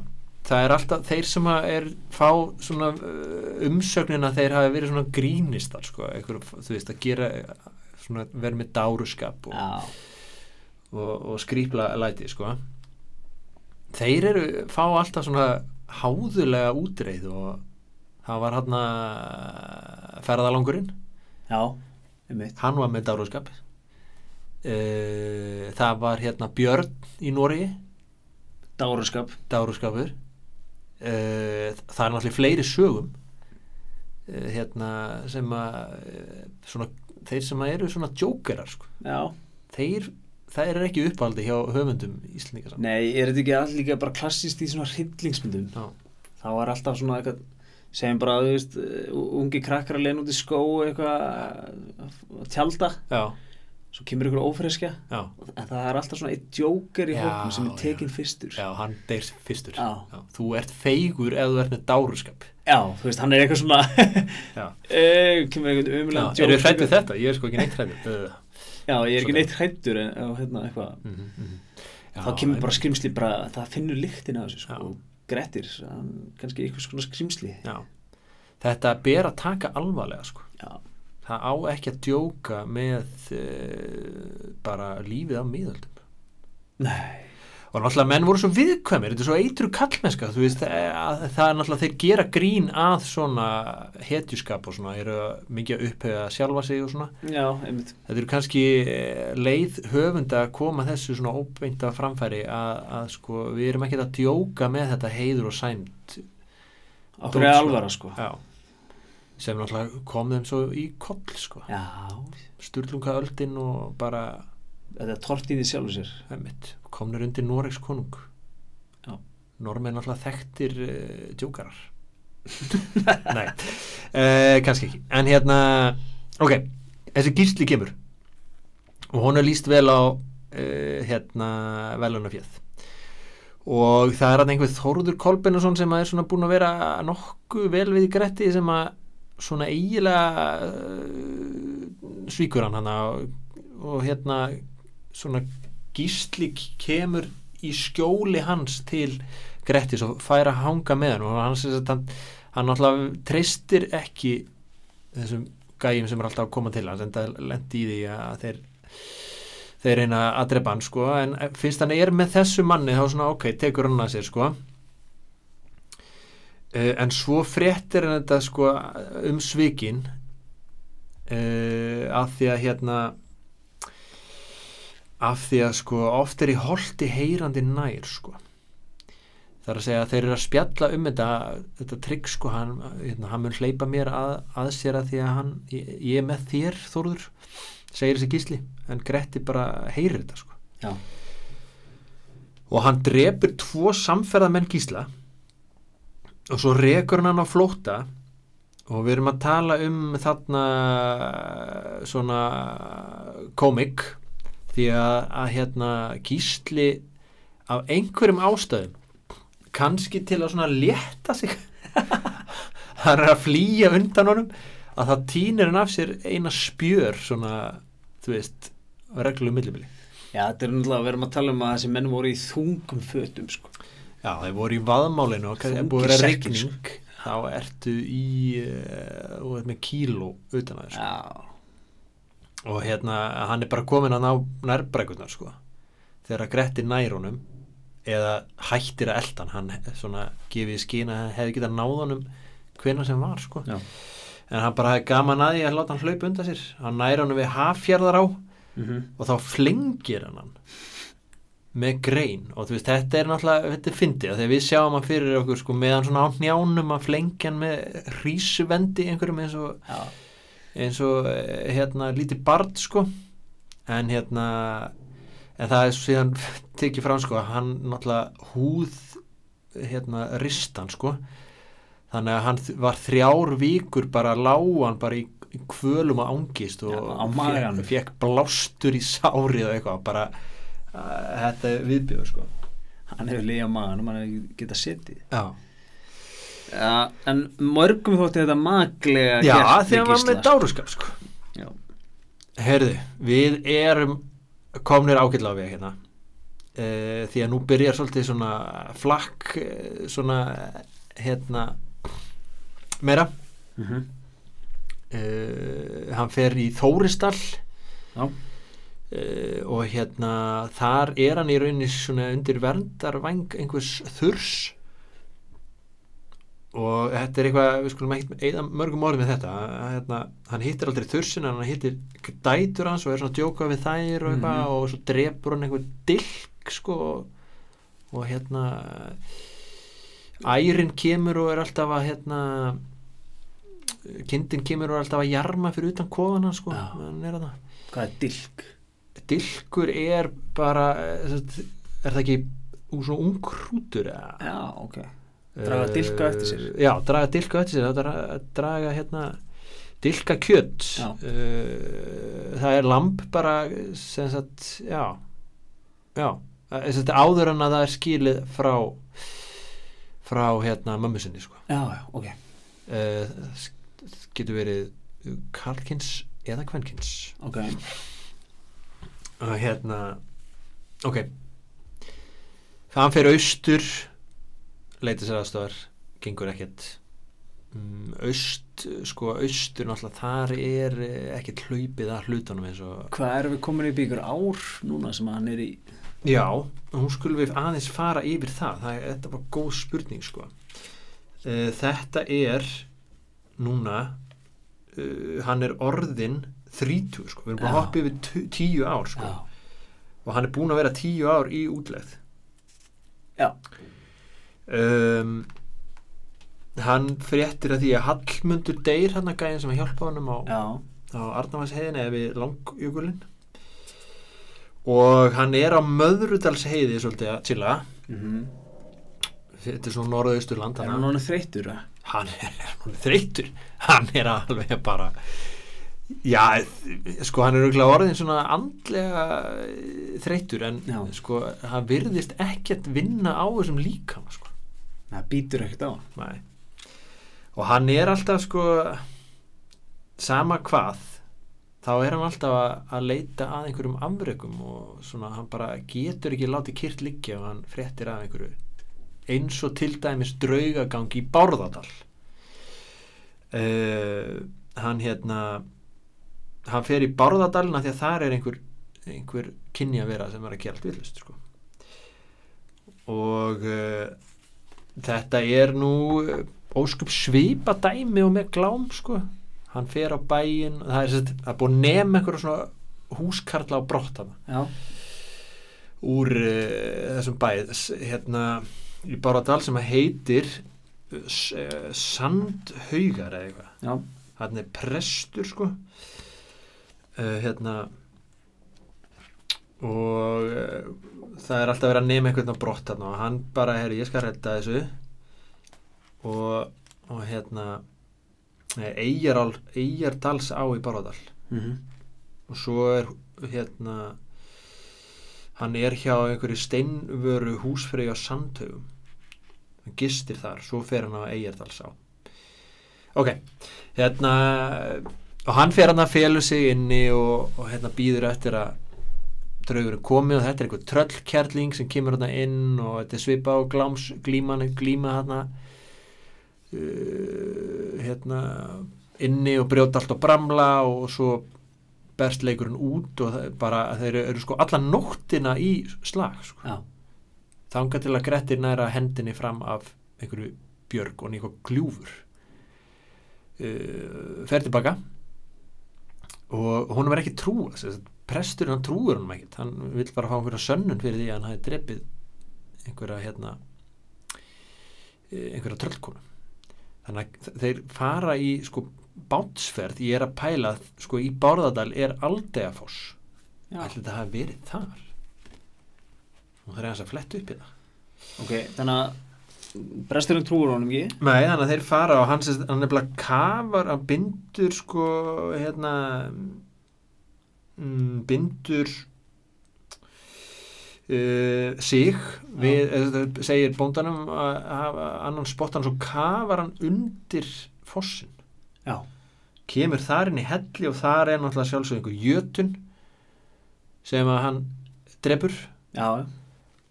Speaker 2: það er alltaf, þeir sem að er fá svona uh, umsögnina þeir hafi verið svona grínistar sko, einhver, þú veist, að gera uh, svona, verið með dáruskap og,
Speaker 1: já,
Speaker 2: og, og skrýpla læti, sko þeir eru, fá alltaf svona háðulega útreið og það var hann að ferðalangurinn
Speaker 1: já, einmitt
Speaker 2: hann var með dáruskap uh, það var hérna Björn í Noregi
Speaker 1: Dáruskap
Speaker 2: dáruskapur uh, það er náttúrulega fleiri sögum uh, hérna sem að uh, svona, þeir sem að eru svona jókerar sko.
Speaker 1: Já,
Speaker 2: þeir, það er ekki uppaldi hjá höfundum íslendinga saman
Speaker 1: nei, er þetta ekki all líka bara klassist í svona hryllingsmyndum
Speaker 2: Já.
Speaker 1: þá er alltaf svona eitthvað segjum bara, þú veist, uh, ungi krakkar að leina út í skó eitthvað að tjálta,
Speaker 2: Já,
Speaker 1: svo kemur ykkur ófreskja
Speaker 2: já,
Speaker 1: en það er alltaf svona eitt jóker í
Speaker 2: Já,
Speaker 1: hóknum sem er
Speaker 2: já.
Speaker 1: tekinn fyrstur
Speaker 2: já, hann deyr fyrstur
Speaker 1: Já.
Speaker 2: þú ert feigur ef þú ert með dáruskap
Speaker 1: Já, þú veist, hann er eitthvað svona (laughs)
Speaker 2: Já.
Speaker 1: eh, kemur eitthvað
Speaker 2: Já,
Speaker 1: umlega
Speaker 2: eru hrætt við þetta? Ég er sko ekki neitt hrætt við
Speaker 1: Já, ég er
Speaker 2: Svona.
Speaker 1: ekki neitt hrættur en, en hérna eitthvað
Speaker 2: Mhm, mhm.
Speaker 1: þá kemur bara skrimsli bara, það finnur lyktin af þessu sko.
Speaker 2: Já.
Speaker 1: og Grettir, hann- kannski einhvers konar skrimsli
Speaker 2: já. þetta ber að taka alvarlega sko.
Speaker 1: Já.
Speaker 2: það á ekki að djóka með uh, bara lífið á miðöldum
Speaker 1: Nei,
Speaker 2: og náttúrulega menn voru svo viðkvæmir þetta er svo eitru kallmennska þú veist, eh, að, það er náttúrulega þeir gera grín að svona hetjuskap og svona eru mikið að upphega sjálfa sig og svona
Speaker 1: já, einmitt
Speaker 2: þetta eru kannski eh, leið höfunda að koma þessu svona óbeinta framfæri að, að sko við erum ekkert að djóka með þetta heiður og sæmt
Speaker 1: okkur er
Speaker 2: Dómsmál.
Speaker 1: alvara sko
Speaker 2: já. sem náttúrulega kom þeim svo í koll sko,
Speaker 1: Já,
Speaker 2: sturlunga öldin og bara,
Speaker 1: þetta er tortíði sjálfur sér
Speaker 2: emmitt, komnur undir Noregs konung
Speaker 1: Já.
Speaker 2: Normen náttúrulega þekktir uh, djókarar nei, uh, kannski ekki en hérna, ok þessi gísli kemur og hún er líst vel á uh, hérna velunafjöð og það er hann einhver Þórður Kolbinason sem er svona búin að vera nokkuð vel við í gretti sem að svona eiginlega uh, svíkur hann hann og, og hérna svona gísli kemur í skjóli hans til Grettis og fær að hanga með hann og hann, sem sagt, hann, hann náttúrulega treystir ekki þessum gæjum sem er alltaf að koma til hans en það lendi í því að þeir þeir reyna að drepa hann sko en fyrst hann er með þessu manni þá svona ok, tekur hann að sér sko uh, en svo fréttir hann þetta sko um svikin uh, af því að hérna af því að sko oft er í holti heyrandi nær sko það er að segja að þeir eru að spjalla um þetta þetta trygg sko hann, hérna, hann mun hleypa mér að, að sér að því að hann ég, ég er með þér Þórður segir þessi gísli en Gretti bara heyrir þetta sko
Speaker 1: Já,
Speaker 2: og hann drepur tvo samferðamenn gísla og svo rekur hann hann á flótta og við erum að tala um þarna svona komik því að, að hérna gísli af einhverjum ástæðum kannski til að svona létta sig (laughs) hann er að flýja undan honum að það týnir hann af sér eina spjör svona, þú veist reglum millibili
Speaker 1: já þetta er náttúrulega að verðum að tala um að þessi menn voru í þungum fötum sko
Speaker 2: Já, þeir voru í vaðmálinu og það er
Speaker 1: Þungir
Speaker 2: búið að vera
Speaker 1: sektir,
Speaker 2: regning þá ertu í uh, og veit með kíló utan að þessu
Speaker 1: Já,
Speaker 2: og hérna, hann er bara komin að ná nærbreikunar sko þegar að Gretti nær honum eða hættir að eldan hann svona gefið skýna að hann hefði getað náð honum hvena sem var sko
Speaker 1: já
Speaker 2: en hann bara hefði gaman að því að láta hann hlaupa undan sér hann nær honum við haffjörðar á
Speaker 1: Mhm.
Speaker 2: og þá flengir hann hann með grein og þú veist þetta er náttúrulega, þetta er fyndið af því að við sjáum hann fyrir okkur sko meðan svona á njánum að flengja hann með hrísuvendi einhverjum eins og,
Speaker 1: Já,
Speaker 2: eins og eh, hérna lítið barn sko en hérna en það er síðan (laughs) tekið fram sko að hann náttúrulega húð hérna ristan sko þannig að hann þ- var þrjár vikur bara lágan bara í í kvölum að ángist og
Speaker 1: Já, á maganum.
Speaker 2: fekk blástur í sárið og eitthvað bara uh, þetta er viðbjöður sko
Speaker 1: hann hefur leiðið á maðanum, hann hefur getað setið
Speaker 2: Já,
Speaker 1: Já, en mörgum þótti þetta maglega
Speaker 2: Já því
Speaker 1: gert
Speaker 2: að hann var
Speaker 1: Gísla,
Speaker 2: með dáruskap sko
Speaker 1: sko. Já.
Speaker 2: Herði, við erum komnir ágætlega á við hérna uh, því að nú byrjar svolítið svona flakk eh, svona hérna meira
Speaker 1: Mhm.
Speaker 2: uh, hann fer í Þóristall
Speaker 1: Já.
Speaker 2: uh, og hérna þar er hann í rauninni svona undir verndarvæng einhvers þurs og þetta er eitthvað við skulum ekkert eða mörgum orðum við þetta að, hérna, hann hittir aldrei þursin en hann hittir dætur hans og er svona að djóka við þær og eitthvað
Speaker 1: Mhm.
Speaker 2: og svo drepur hann einhver dilk sko og- og hérna ærin kemur og er alltaf að hérna kindin kemur og er alltaf að jarma fyrir utan kofana sko
Speaker 1: Já.
Speaker 2: hann er þarna.
Speaker 1: Hvað er dilk?
Speaker 2: dilkur er bara eh, sem sagt, er það ekki úr svona ungrútur eða?
Speaker 1: Já, ok draga
Speaker 2: Eh,
Speaker 1: dilka eftir sér.
Speaker 2: já, draga dilka eftir sér það er að draga hérna dilka kjöt
Speaker 1: Já.
Speaker 2: Eh, það er lamp bara sem sagt, já já, Eh, sem sagt, áður en að það er skilið frá frá hérna mömmu sinni sko
Speaker 1: Já, já, ok
Speaker 2: Eh, s- s- getur verið karlkins eða kvenkins
Speaker 1: Ok,
Speaker 2: og hérna ok hann fer austur leita sér aðstofar gengur ekkert Mm, aust, sko austur náttúrulega þar er eh, ekkert hlaupið að hlutunum eins og
Speaker 1: Hvað erum við komin upp í ykkur ár núna sem hann er í
Speaker 2: Já, hún skulle við aðeins fara yfir það, það er, þetta var góð spurning sko. Uh, þetta er núna, uh, hann er orðin 30 sko, við erum búin að
Speaker 1: Já.
Speaker 2: hoppa yfir tu- 10 ár sko og hann er búin að vera 10 ár í útlegð.
Speaker 1: Já.
Speaker 2: Um, hann fréttir að því að Hallmundur deyr hann að gæðin sem að hjálpa honum á
Speaker 1: Já,
Speaker 2: á Arnavasheiðin eða við Langjökulinn og hann er á Möðrudalsheiði svolítið að chilla
Speaker 1: mm
Speaker 2: þetta er svona norðausturland
Speaker 1: er
Speaker 2: hann,
Speaker 1: hann orðin þreyttur að
Speaker 2: hann er, er hann þreytur hann er alveg bara já, sko hann er örugglega orðin svona andlega eh, þreytur en
Speaker 1: Já.
Speaker 2: sko hann virðist ekkert vinna á þessum líkama sko
Speaker 1: það býtur ekkert á hann.
Speaker 2: Nei. Og hann er alltaf sko sama hvað þá er hann alltaf að, að leita að einhverjum afrökum og svona hann bara getur ekki látið kýrt liggja og hann fréttir að einhverju eins og til dæmis draugagang í Bárðardal uh, hann hérna hann fer í Bárðardalina því að þar er einhver, einhver kynni að vera sem er að gera allt villust sko. og uh, Þetta er nú eh, óskup svipa dæmi og með glám sko hann fer á bæinn og það er, sett, það er búið að nefna einhverja svona húskarla á brott hann
Speaker 1: Já,
Speaker 2: úr uh, þessum bæð s- hérna í Báradal sem að heitir uh, s- eh, Sandhaugar eða eitthvað
Speaker 1: já,
Speaker 2: hann er prestur sko uh, hérna og uh, það er alltaf verið að nema einhvern á brott hann og hann bara, herri, ég skal redda þessu og, og hérna Eyjaral, Eyjardals á í Baróðal
Speaker 1: mm
Speaker 2: og svo er hérna hann er hjá einhverju steinvöru húsfreyju á sandhaugum hann gistir þar, svo fer hann á Eyjardals á ok hérna og hann fer hann að felu sig inni og, og hérna býður eftir að draugurinn komi og þetta er einhver tröllkerling sem kemur hann inn og þetta er svipa og gláms, glíma, glíma hann uh, hérna inni og brjóta allt og bramla og svo berst leikurinn út og það er bara þeir eru sko alla nóttina í slag sko.
Speaker 1: já,
Speaker 2: þanga til að Grettir næra hendinni fram af einhverju björg og einhver gljúfur uh, fer tilbaka og honum er ekki trú presturinn hann trúur honum ekkert hann vill bara fá einhverja sönnun fyrir því að hann hafi drepið einhverja hérna eh, einhverja tröllkonu þannig að þeir fara í sko bátsferð, ég er að pæla sko í Bárðardal er Aldeafoss
Speaker 1: já.
Speaker 2: Ætli þetta hafi verið þar? Hún þarf aðeins að fletta upp hérna. í það.
Speaker 1: Ok, þannig að bresturinn trúur honum ekki
Speaker 2: Nei, þannig að þeir fara og hann, sérst, hann nefnilega kafar, hann bindur sko, hérna, mm, bindur uh, sig við, eða, segir bóndanum að hafa annan spottan, svo kafar hann undir fossin.
Speaker 1: Já,
Speaker 2: kemur þar inn í helli og þar er náttúrulega sjálfsögðu einhver jötun sem að hann drefur
Speaker 1: já,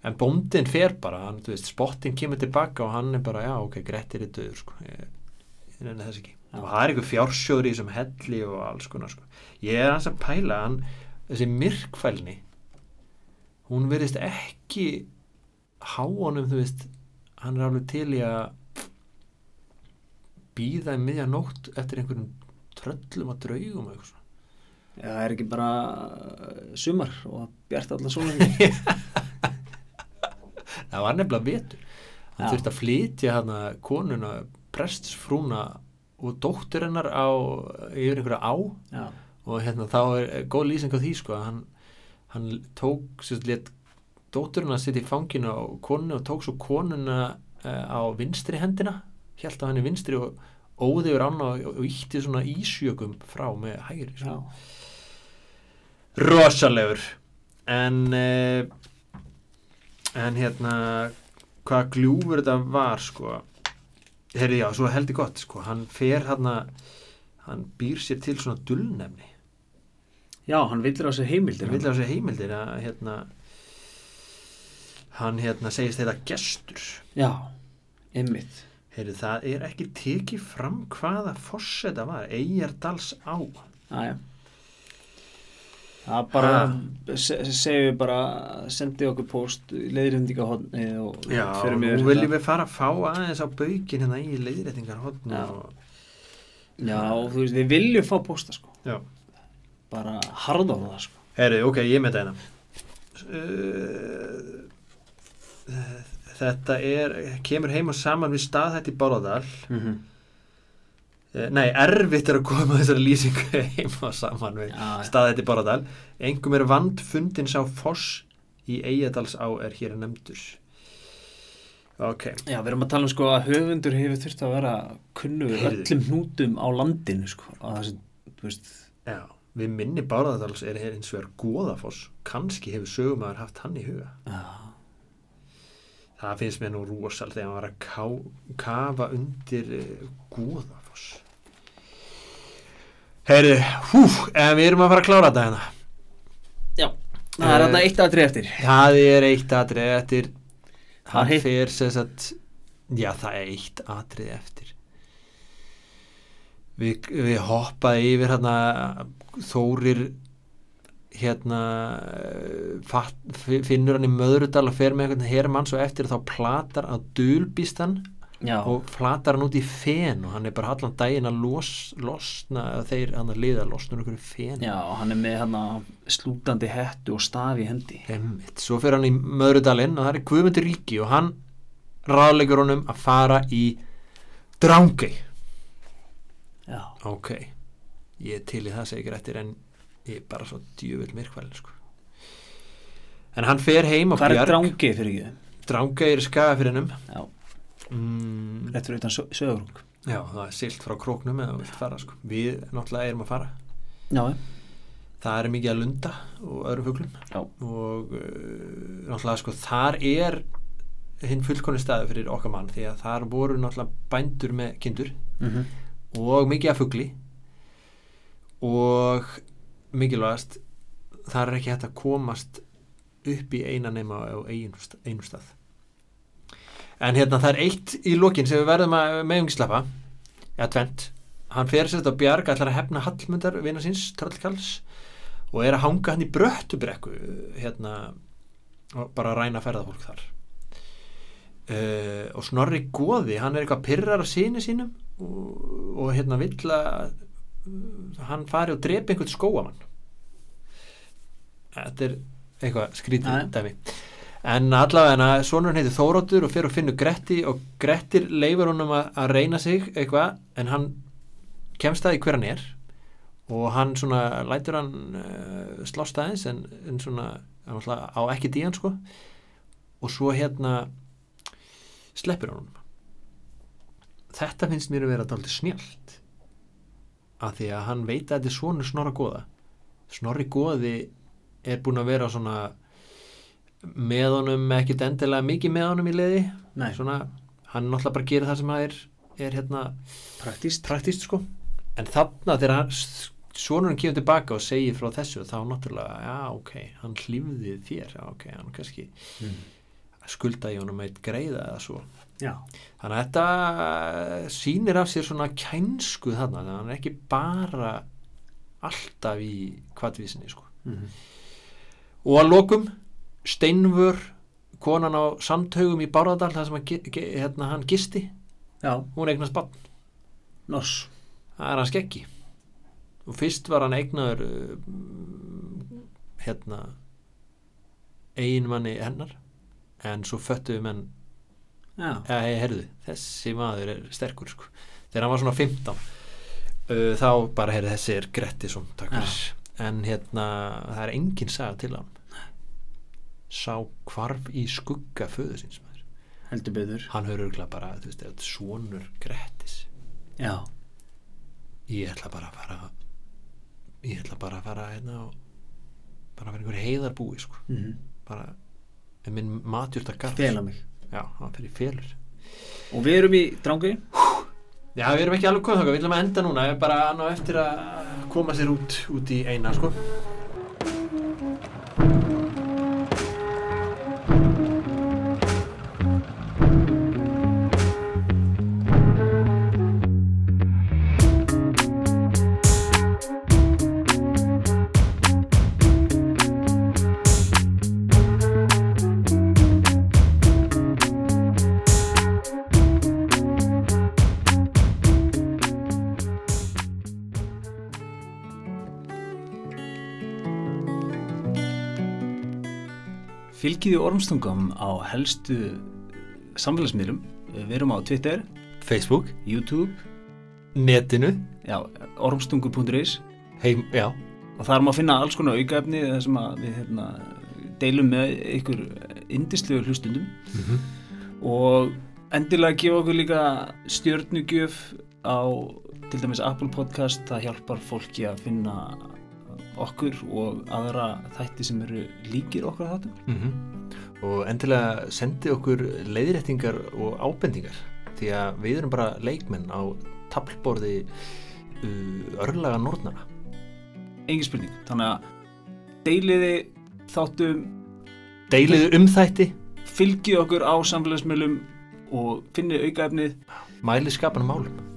Speaker 2: en bóndin fer bara, hann, þú veist, spottin kemur tilbaka og hann er bara, já, ok, Grettir er döður, sko, ég, ég nefnir þess ekki
Speaker 1: Já.
Speaker 2: og það er einhver fjársjóður í þessum helli og alls konar, sko, ég er hans að pæla hann, þessi myrkfælni hún verðist ekki há honum, þú veist hann er alveg til í að býða í miðja nótt eftir einhverjum tröllum að draugum og eitthvað svona
Speaker 1: já, það er ekki bara eh, sumar og bjart allan sólengi
Speaker 2: það var nefnilega vetur hann
Speaker 1: Já.
Speaker 2: þurfti að flytja hana konuna prestsfrúna og dóttur hennar á yfir einhverja á
Speaker 1: (laughs) Já,
Speaker 2: og hérna þá er er góð lýsing á því sko að hann, hann tók sérst létt dótturinn að sitja í fanginu á konu og tók svo konuna eh, á vinstri hendina held að hann er vinstri og óði yfir ána og, og ítti svona ísjökum frá með hægri
Speaker 1: já,
Speaker 2: sko. rosalegur en eh, en hérna hvað gljúfur þetta var sko herri já, svo heldur gott sko hann fer hérna hann býr sér til svona dullnefni
Speaker 1: já, hann villir á sér heimildir
Speaker 2: hann vil á sér heimildir að hérna hann hérna segist þetta gestur
Speaker 1: já, einmitt
Speaker 2: Heyri, það er ekki tekið fram hvaða forseta var, Eyjardals á
Speaker 1: Æja. Það bara, se- segjum við bara, sendið okkur post í leiðrindingahotni og
Speaker 2: Já,
Speaker 1: förum
Speaker 2: nú
Speaker 1: yfir þetta.
Speaker 2: viljum við fara að fá aðeins á baukin hérna í leiðréttingar hodn
Speaker 1: Já.
Speaker 2: og
Speaker 1: Já, þú veist, við viljum fá posta sko,
Speaker 2: Já.
Speaker 1: bara harða á það sko.
Speaker 2: Herri, ok, ég með þetta hérna. Uh, Þetta er, kemur heim og saman við staðhætt í Bárðardal.
Speaker 1: Mm -hmm.
Speaker 2: Eh, Nei, erfitt er að koma þessari lýsingu heim og saman við
Speaker 1: Já, já.
Speaker 2: staðhætt í Bárðardal. Engum er vandfundin sá foss í Eyjadals á er hér nefndur. Ok,
Speaker 1: Já, við erum að tala um sko að höfundur hefur þurft að vera kunnur
Speaker 2: Heyrðu.
Speaker 1: öllum hnútum á landinu sko, að það sem, þú veist,
Speaker 2: já, við minni Bárðardals er hér eins og er góðafoss. Kanski hefur sögumæður haft hann í huga.
Speaker 1: já,
Speaker 2: Það finnst mér nú rosal þegar maður var að ká, kafa undir uh, Guðafoss. Herri, hú, en við erum að fara að klára þetta hérna.
Speaker 1: já, það er
Speaker 2: Eh,
Speaker 1: þarna eitt aðrið eftir.
Speaker 2: Það er eitt atrið eftir,
Speaker 1: Hann
Speaker 2: hann
Speaker 1: hitt-
Speaker 2: fer sem sagt, já það er eitt atrið eftir. Við, við hoppaði yfir hérna Þórir hérna eh, fatt, finnur hann í Möðrudal og fer með einhvern hermann svo eftir þá platar að dulbýstan
Speaker 1: Já,
Speaker 2: og flatar hann út í fen og hann er bara allan daginn að los, losna eða þeir hann að liða losna úr einhverju fen
Speaker 1: já, hann er með hann slútandi hettu og stafi í hendi.
Speaker 2: Einmitt. svo fer hann í Möðrudalinn og það er Guðmundur Ríki og hann ráðlegur honum að fara í Drangey
Speaker 1: Já,
Speaker 2: ok, ég er til í það segir eftir en ég er bara svo djöfull myrkvælin sko en hann fer heim og
Speaker 1: hvað er
Speaker 2: bjarg
Speaker 1: drangið fyrir ekki?
Speaker 2: Drangey er skaga fyrir hennum
Speaker 1: Já,
Speaker 2: mm,
Speaker 1: rétt fyrir utan söðurung.
Speaker 2: já, það er silt frá króknum eða þú vilt fara sko við náttúrulega erum að fara
Speaker 1: Já, já.
Speaker 2: það er mikið að lunda og öðrum fuglum
Speaker 1: Já.
Speaker 2: og uh, náttúrulega sko þar er hinn fullkonni staðu fyrir okkar mann því að þar voru náttúrulega bændur með kindur
Speaker 1: Mhm.
Speaker 2: og mikið að fugli og mikilvægast þar er ekki hægt að komast upp í eina nema á einum sta- einum stað en hérna það er eitt í lokin sem við verðum að meðum ekki slappa eða tvent hann fer sér þetta á bjarg ætlar að hefna Hallmundar vina síns tröllkalls og er að hanga hann í bröttubrekku hérna og bara ræna ferðafólk þar uh, og Snorri Goði hann er eitthvað pyrrar að sinni sínum og, og hérna vill að uh, hann fari og drepi einhvern skóamann þetta er eitthvað skrítið
Speaker 1: Jæja.
Speaker 2: dæmi en allavega sonur hann heitir Þóróttur og fyrir og finnur Gretti og Grettir leifur honum að, að reyna sig eitthvað en hann kemst að í hver hann er og hann svona lætur hann uh, slást aðeins en, en svona hann náttúrulega á ekki díjan sko og svo hérna sleppir hann honum. þetta finnst mér að vera dálítið snjált af því að hann veit að þetta er svona snorra góða snorri góði er búin að vera svona með honum ekkit endilega mikið með honum í liði
Speaker 1: Nei,
Speaker 2: svona, hann náttúrulega bara gerir það sem að er, er hérna
Speaker 1: praktíst.
Speaker 2: praktíst sko en þarna þegar hann sonurinn kemur tilbaka og segir frá þessu þá náttúrulega, já ok, hann hlýfði þér, já ok, hann kannski
Speaker 1: Mm.
Speaker 2: skulda í honum eitt greiða eða svo
Speaker 1: Já,
Speaker 2: þannig að þetta sýnir af sér svona kænsku þarna þannig að hann er ekki bara alltaf í kvartvísinni sko
Speaker 1: Mhm.
Speaker 2: og að lokum Steinvör konan á samtögum í Bárðardal þar sem hann, gi- gi- hérna, hann gisti
Speaker 1: já,
Speaker 2: hún eignast bann
Speaker 1: noss.
Speaker 2: það er hans gekki og fyrst var hann eignaður uh, hérna eiginmanni hennar en svo föttu við menn
Speaker 1: Já,
Speaker 2: eða hey, herðu, þessi maður er sterkur sko. þegar hann var svona 15 uh, þá bara herðu þessi er Gretti som takkar en hérna það er engin saga til hann sá hvarf í skugga föðu síns maður
Speaker 1: heldur betur.
Speaker 2: hann höfður örugglega bara, þú veist, þetta er sonur Grettis
Speaker 1: Já,
Speaker 2: ég ætla bara að fara ég ætla bara að fara hérna og bara að vera einhver heiðarbúi sko.
Speaker 1: mhm.
Speaker 2: bara en minn matjúrta garð
Speaker 1: Fela mig.
Speaker 2: já, hann fyrir felur
Speaker 1: Og við erum í drangi
Speaker 2: já, við erum ekki alveg komið þokkar, við ætlum að enda núna við bara ná eftir að koma sér út út í eina sko
Speaker 1: Fylgiði ormstungum á helstu samfélagsmiðlum. Við erum á Twitter,
Speaker 2: Facebook,
Speaker 1: YouTube,
Speaker 2: netinu
Speaker 1: já, ormstungur.is
Speaker 2: heim, já,
Speaker 1: og þar má finna alls konar aukaefni þar sem að við hérna, deilum með ykkur indislegu hlustundum og endilega gefa okkur líka stjörnugjöf á til dæmis Apple Podcast það hjálpar fólki að finna okkur og aðra þætti sem eru líkir okkur að þáttum
Speaker 2: mm og endilega sendi okkur leiðréttingar og ábendingar því að við erum bara leikmenn á tablborði uh, örlaga nornara
Speaker 1: engin spurning, þannig að deiliði þáttum
Speaker 2: deiliðu um þætti,
Speaker 1: fylgið okkur á samfélagsmiðlum og finnið aukaefnið
Speaker 2: mæli skapanum málum